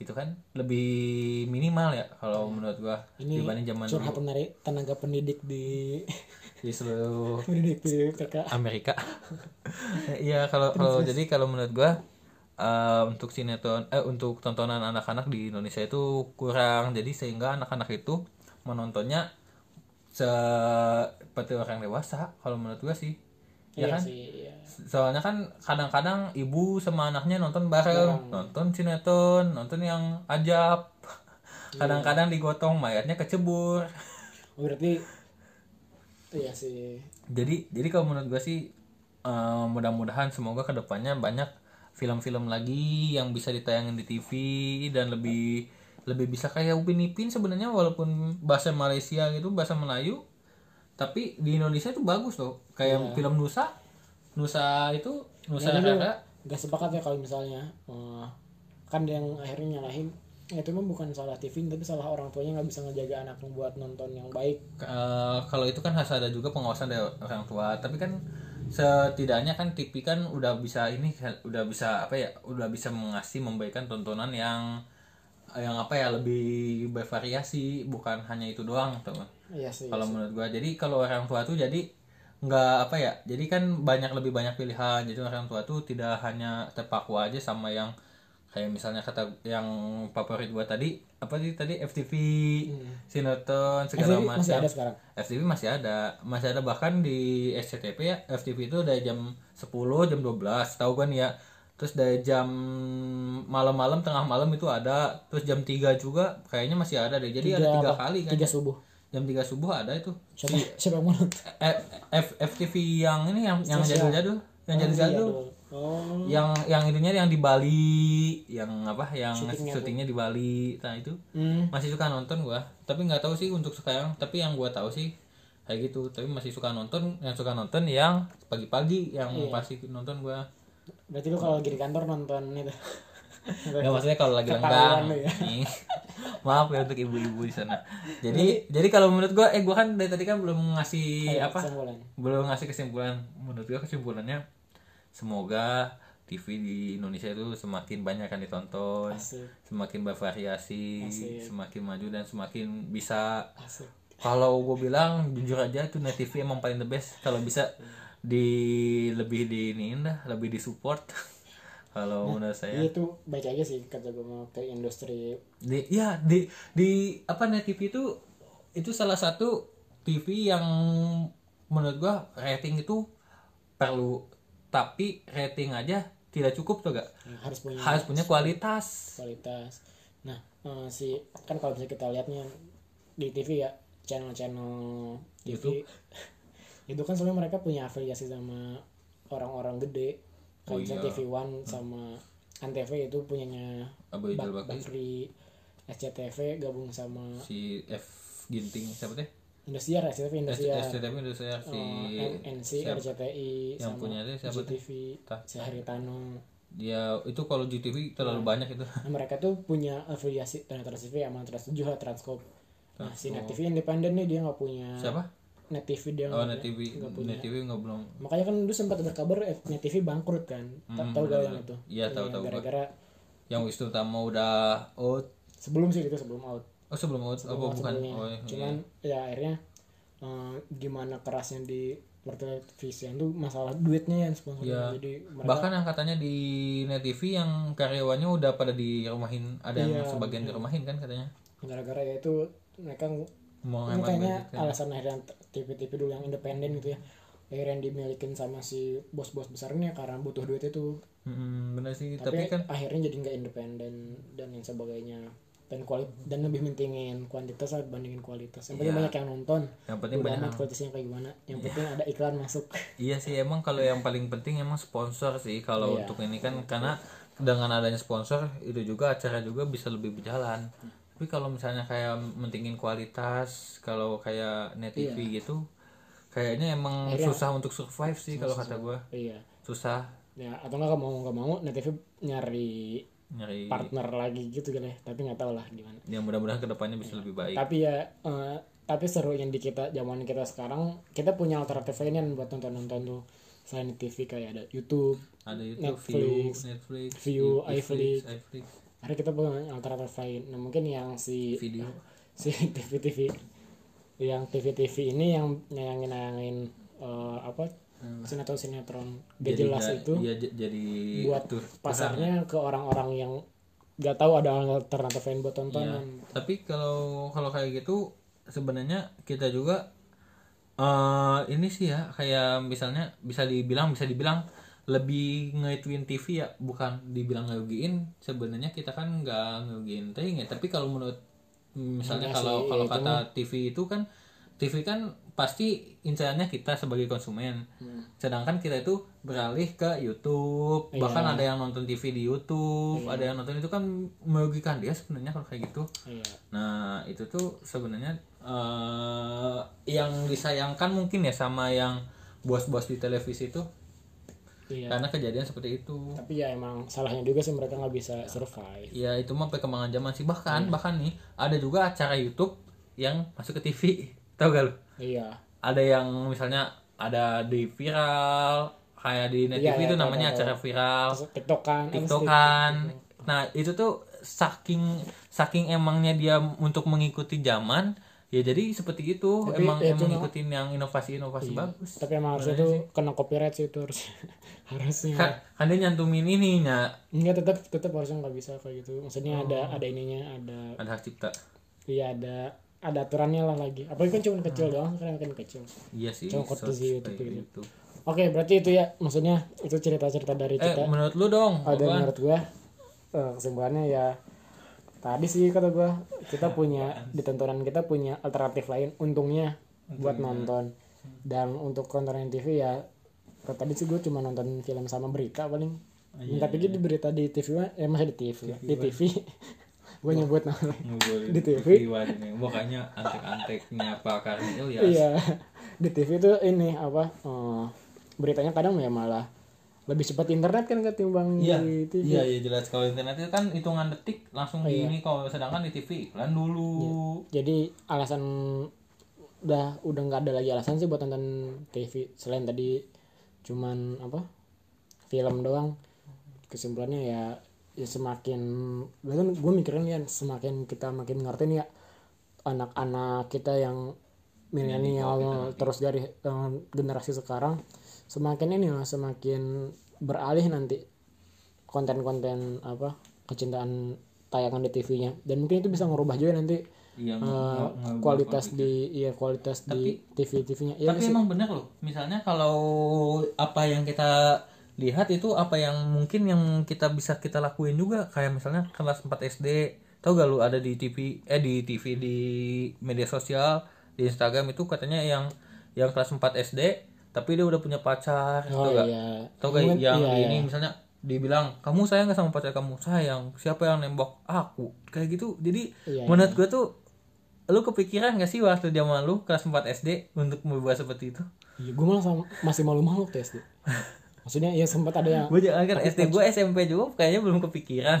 S1: itu kan lebih minimal ya kalau menurut gua
S2: Iya. Ini
S1: dibanding zaman dulu
S2: curhat menarik tenaga pendidik di
S1: di seluruh
S2: pendidik di PK
S1: Amerika. Iya kalau kalau jadi kalau menurut gua eh, untuk sinetron eh untuk tontonan anak-anak di Indonesia itu kurang jadi sehingga anak-anak itu menontonnya seperti orang dewasa kalau menurut gua sih. Ya
S2: iya
S1: kan?
S2: sih iya.
S1: Soalnya kan kadang-kadang ibu sama anaknya nonton
S2: Iya.
S1: bareng, nonton sinetron, nonton yang ajab.
S2: Iya.
S1: Kadang-kadang digotong mayatnya kecebur.
S2: Oh, berarti iya sih
S1: jadi jadi kalau menurut gue sih eh, mudah-mudahan semoga kedepannya banyak film-film lagi yang bisa ditayangin di TV dan lebih lebih bisa kayak Upin Ipin sebenarnya walaupun bahasa Malaysia gitu bahasa Melayu tapi di Indonesia itu bagus loh kayak film Nusa Nusa itu Nusa Rara
S2: nggak sepakat ya kalau misalnya eh, kan dia yang akhirnya nyalahin ya itu mah bukan salah TV tapi salah orang tuanya nggak bisa ngejaga anaknya buat nonton yang baik
S1: Eh, kalau itu kan harus ada juga pengawasan dari orang tua tapi kan setidaknya kan TV kan udah bisa ini kan, udah bisa apa ya udah bisa mengasih memberikan tontonan yang yang apa ya lebih bervariasi bukan hanya itu doang teman
S2: iya sih
S1: kalau menurut gua jadi kalau orang tua tuh jadi nggak apa ya jadi kan banyak lebih banyak pilihan jadi orang tua tuh tidak hanya terpaku aja sama yang kayak misalnya kata yang favorit gua tadi apa sih tadi FTV
S2: Iya.
S1: sinetron segala
S2: FTV masih
S1: macam
S2: ada sekarang?
S1: FTV masih ada masih ada bahkan di SCTV ya FTV itu dari jam 10 jam 12 tahu kan ya terus dari jam malam-malam tengah malam itu ada terus jam 3 juga kayaknya masih ada deh jadi ada tiga Iya. kali kan
S2: tiga subuh
S1: jam 3 subuh ada itu
S2: siapa siapa yang mau nonton
S1: Eh, F FTV yang ini yang yang jadul-jadul yang jadul-jadul
S2: Iya, oh
S1: yang yang itunya yang di Bali yang apa yang syutingnya di Bali nah itu
S2: hmm.
S1: masih suka nonton gua tapi nggak tahu sih untuk sekarang tapi yang gua tahu sih kayak gitu tapi masih suka nonton yang suka nonton yang pagi-pagi yang
S2: Iya.
S1: pasti nonton gua
S2: berarti lu kalau lagi di kantor nonton itu
S1: nggak maksudnya kalau lagi
S2: Ketahuan
S1: lenggang
S2: Iya. lu ya.
S1: Nih. maaf ya untuk ibu-ibu di sana
S2: Iya.
S1: jadi jadi kalau menurut gua eh gua kan dari tadi kan belum ngasih apa
S2: Kesimpulan.
S1: belum ngasih kesimpulan menurut gue kesimpulannya semoga TV di Indonesia itu semakin banyak yang ditonton,
S2: Asik.
S1: semakin bervariasi,
S2: Asik.
S1: semakin maju dan semakin bisa.
S2: Asik.
S1: Kalau gue bilang jujur aja tuh Net TV emang paling the best. Kalau bisa di lebih di ini dah, lebih disupport. Kalau menurut saya.
S2: Iya itu baik aja sih kerja gue mau ke industri
S1: di ya di di apa net TV itu itu salah satu TV yang menurut gua rating itu perlu tapi rating aja tidak cukup tuh gak
S2: yang harus punya
S1: harus punya kualitas
S2: kualitas. Nah, eh, si kan kalau bisa kita lihat nih di TV ya channel-channel TV itu kan sebenarnya mereka punya afiliasi sama orang-orang gede. Kalau
S1: Oh
S2: misalnya
S1: iya.
S2: TV One sama Antv itu punyanya
S1: Abu Ijul
S2: Bak-
S1: Bakri
S2: Bakri SCTV gabung sama
S1: si F Ginting siapa teh
S2: Indosiar, SCTV Indosiar,
S1: SCTV itu saya si
S2: eh, NC,
S1: siapa?
S2: RCTI,
S1: yang punya itu siapa tuh?
S2: GTV,
S1: Tah.
S2: Sehari Tano.
S1: dia ya, itu kalau GTV terlalu banyak itu
S2: Nah, mereka tuh punya afiliasi dengan Trans TV sama Trans 7 lah Transkop. Nah, si Net TV independen nih dia nggak punya
S1: siapa
S2: Net TV dia
S1: oh
S2: nggak
S1: net TV
S2: nggak punya.
S1: net TV nggak belum
S2: Makanya kan dulu sempat ada kabar eh, Net TV bangkrut kan. Ta-
S1: Mm,
S2: tahu gak yang
S1: benar-benar.
S2: itu?
S1: Iya, tahu, tahu gua.
S2: Gara-gara
S1: yang Wisnu Tama udah out
S2: sebelum sih itu sebelum out.
S1: oh sebelum out
S2: Sebelum
S1: apa
S2: out
S1: bukan
S2: sebelumnya.
S1: oh, iya.
S2: Cuman ya akhirnya eh, gimana kerasnya di pertelevisian tuh masalah duitnya yang sponsor
S1: Iya.
S2: jadi mereka
S1: bahkan yang katanya di net TV yang karyawannya udah pada dirumahin ada yang
S2: Iya,
S1: sebagian dirumahin kan katanya
S2: gara-gara ya itu mereka
S1: mau
S2: ini
S1: hemat
S2: kayaknya
S1: budget kan.
S2: alasan akhirnya TV-TV dulu yang independen gitu ya akhirnya yang dimilikin sama si bos-bos besarnya karena butuh duit itu
S1: Mm, bener sih
S2: tapi,
S1: tapi, kan
S2: akhirnya jadi nggak independen dan lain sebagainya dan kuali dan lebih mentingin kuantitas lah dibandingin kualitas yang penting
S1: Iya.
S2: banyak yang nonton
S1: yang penting
S2: udah
S1: banyak
S2: amat kualitasnya kayak gimana yang penting ada iklan masuk
S1: iya sih emang kalau yang paling penting emang sponsor sih kalau
S2: Iya.
S1: untuk ini kan karena dengan adanya sponsor itu juga acara juga bisa lebih berjalan tapi kalau misalnya kayak mentingin kualitas kalau kayak net TV gitu kayaknya emang
S2: Iya. Akhirnya-
S1: susah untuk survive sih kalau kata gua
S2: iya
S1: susah
S2: ya atau nggak mau nggak mau Net TV nyari
S1: nyari
S2: partner lagi gitu kan ya tapi nggak tahu lah gimana
S1: yang mudah-mudahan kedepannya bisa lebih baik
S2: tapi ya eh, tapi serunya di kita zaman kita sekarang kita punya alternatif lainnya buat nonton nonton tuh selain di TV kayak ada YouTube
S1: ada YouTube
S2: Netflix,
S1: View, Netflix,
S2: View,
S1: iFlix,
S2: iFlix. ada kita punya alternatif lain nah mungkin yang si
S1: video.
S2: si TV TV yang TV TV ini yang nayangin nayangin apa sinetron sinetron gak jelas
S1: Hmm. nggak-
S2: itu
S1: Iya j- jadi
S2: buat
S1: tur-
S2: pasarnya ke orang-orang yang gak tahu ada alternatif lain buat
S1: Iya.
S2: tontonan
S1: Tapi kalau kalau kayak gitu sebenarnya kita juga eh ini sih ya kayak misalnya bisa dibilang bisa dibilang lebih ngeituin TV ya bukan dibilang ngerugiin sebenarnya kita kan nggak ngerugiin ting ya tapi kalau menurut misalnya
S2: Enggak
S1: kalau
S2: Iya sih,
S1: kalau
S2: itu
S1: kata TV itu kan TV kan pasti incarannya kita sebagai konsumen
S2: Hmm.
S1: sedangkan kita itu beralih ke YouTube
S2: Iya.
S1: bahkan ada yang nonton TV di YouTube ada yang nonton itu kan merugikan dia sebenarnya kalau kayak gitu
S2: iya
S1: Nah itu tuh sebenarnya eh yang disayangkan mungkin ya sama yang bos-bos di televisi itu
S2: iya
S1: karena kejadian seperti itu.
S2: tapi ya emang salahnya juga sih mereka nggak bisa survive
S1: Ya itu mah perkembangan zaman sih bahkan
S2: Iya.
S1: bahkan nih ada juga acara YouTube yang masuk ke TV tau gak lu?
S2: iya
S1: Ada yang misalnya ada di viral kayak di net
S2: Iya,
S1: TV
S2: iya,
S1: itu
S2: tahu,
S1: namanya
S2: tahu,
S1: acara viral.
S2: tiktokan kan, apa sih?
S1: tiktokan nah itu tuh saking saking emangnya dia untuk mengikuti zaman ya jadi seperti itu
S2: Tapi
S1: emang
S2: ya
S1: emang
S2: cuma- Iya.
S1: ngikutin yang inovasi inovasi bagus
S2: tapi emang harusnya tuh kena copyright sih itu harus harusnya
S1: kan, kan dia nyantumin ininya
S2: enggak tetap tetap harusnya nggak bisa kayak gitu maksudnya ada ada ininya ada
S1: ada hak cipta
S2: iya ada ada aturannya lah lagi apalagi kan cuma kecil doang sekarang kan kecil
S1: iya sih
S2: Cokot
S1: search
S2: sih itu,
S1: kayak gitu.
S2: gitu. oke berarti itu ya maksudnya itu cerita cerita dari
S1: eh
S2: kita
S1: menurut lu dong
S2: ada
S1: apaan?
S2: menurut gua eh, kesimpulannya ya tadi sih kata gua kita punya di tontonan kita punya alternatif lain untungnya buat nonton dan untuk tontonan TV ya kalau tadi sih gua cuma nonton film sama berita paling
S1: Ah,
S2: tapi
S1: iya,
S2: di berita di TV mah eh masih di TV ya. di TV gua nyebut namanya
S1: Ngobrolin
S2: Di TV.
S1: kejiwaan ini. makanya antek-anteknya Pak Karnil ya
S2: iya di TV tuh ini apa eh, beritanya kadang ya malah lebih cepat internet kan ketimbang
S1: Iya,
S2: di TV
S1: iya, iya, jelas kalau internet itu kan hitungan detik langsung
S2: Iya.
S1: di ini kalau sedangkan di TV iklan dulu.
S2: jadi alasan udah udah nggak ada lagi alasan sih buat nonton TV selain tadi cuman apa film doang kesimpulannya ya ya semakin bahkan gue mikirin ya semakin kita makin ngerti nih ya anak-anak kita yang milenial terus dari eh, generasi sekarang semakin ini lah semakin beralih nanti konten-konten apa kecintaan tayangan di TV-nya dan mungkin itu bisa ngerubah juga nanti
S1: Iya,
S2: eh, kualitas di iya kualitas di TV TV-nya iya
S1: tapi emang bener loh misalnya kalau apa yang kita lihat itu apa yang mungkin yang kita bisa kita lakuin juga kayak misalnya kelas 4 SD tau gak lu ada di TV eh di TV di media sosial di Instagram itu katanya yang yang kelas 4 SD tapi dia udah punya pacar tau
S2: oh
S1: gak
S2: iya
S1: tau gak
S2: Mungkin-
S1: yang
S2: iya,
S1: ini misalnya dibilang kamu sayang gak sama pacar kamu sayang siapa yang nembak aku kayak gitu jadi
S2: Iya,
S1: menurut gue tuh lu kepikiran gak sih waktu zaman lu kelas 4 SD untuk membuat seperti itu
S2: Iya, gue malah sama- masih malu-malu waktu SD. Maksudnya ya sempat ada yang
S1: gue jangan kan SD gue SMP juga kayaknya belum kepikiran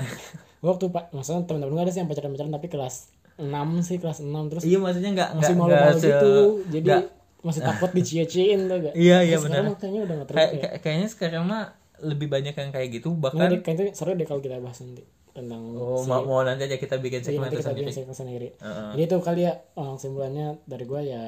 S2: gua waktu pak, maksudnya teman-teman gue ada sih yang pacaran-pacaran tapi kelas 6 sih kelas 6 terus
S1: iya maksudnya nggak nggak
S2: masih
S1: nggak
S2: malu-malu
S1: se-
S2: gitu. Jadi
S1: nggak-
S2: masih takut dicie-ciein tuh gak?
S1: Iya, iya,
S2: Sekarang kayaknya udah
S1: kayak-
S2: gak
S1: kan
S2: terlalu
S1: kayak- kayaknya sekarang mah lebih banyak yang kayak gitu
S2: Nah,
S1: bahkan
S2: deh, kayaknya seru deh kalau kita bahas nanti tentang
S1: oh, mau, mau nanti aja kita bikin
S2: Iya,
S1: segmen Ah.
S2: nanti kita
S1: tersendiri
S2: bikin segmen sendiri. Jadi itu kali ya orang simpulannya dari gue ya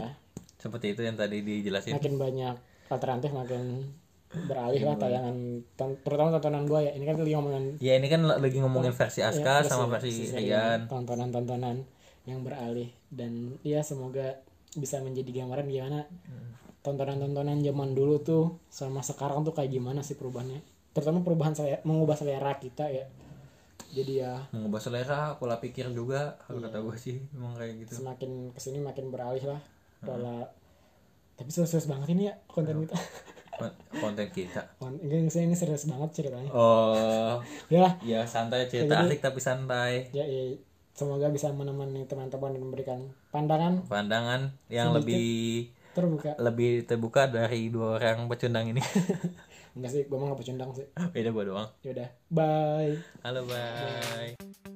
S1: seperti itu yang tadi dijelasin
S2: makin banyak alternatif makin beralih lah tayangan ton- terutama tontonan gue ya ini kan Iya, tadi ngomongin
S1: ya ini kan lagi ngomongin versi Aska sama versi Rian
S2: ya, tontonan-tontonan yang beralih dan ya semoga bisa menjadi gambaran gimana
S1: Hmm.
S2: tontonan-tontonan zaman dulu tuh sama sekarang tuh kayak gimana sih perubahannya terutama perubahan saya mengubah selera kita ya jadi ya
S1: mengubah selera pola pikir juga kalau kata gue sih emang kayak gitu
S2: semakin kesini makin beralih lah
S1: Hmm.
S2: pola tapi serius-serius banget ini
S1: Iya.
S2: ya konten kita
S1: Kon- konten kita
S2: Kon- ini ini serius banget ceritanya
S1: oh
S2: udah lah
S1: ya santai cerita asik tapi santai
S2: ya, ya, semoga bisa menemani teman-teman dan memberikan pandangan
S1: pandangan yang lebih
S2: terbuka
S1: lebih terbuka dari dua orang pecundang ini
S2: enggak sih gue mau nggak pecundang sih
S1: beda gua doang
S2: Yaudah, bye.
S1: halo bye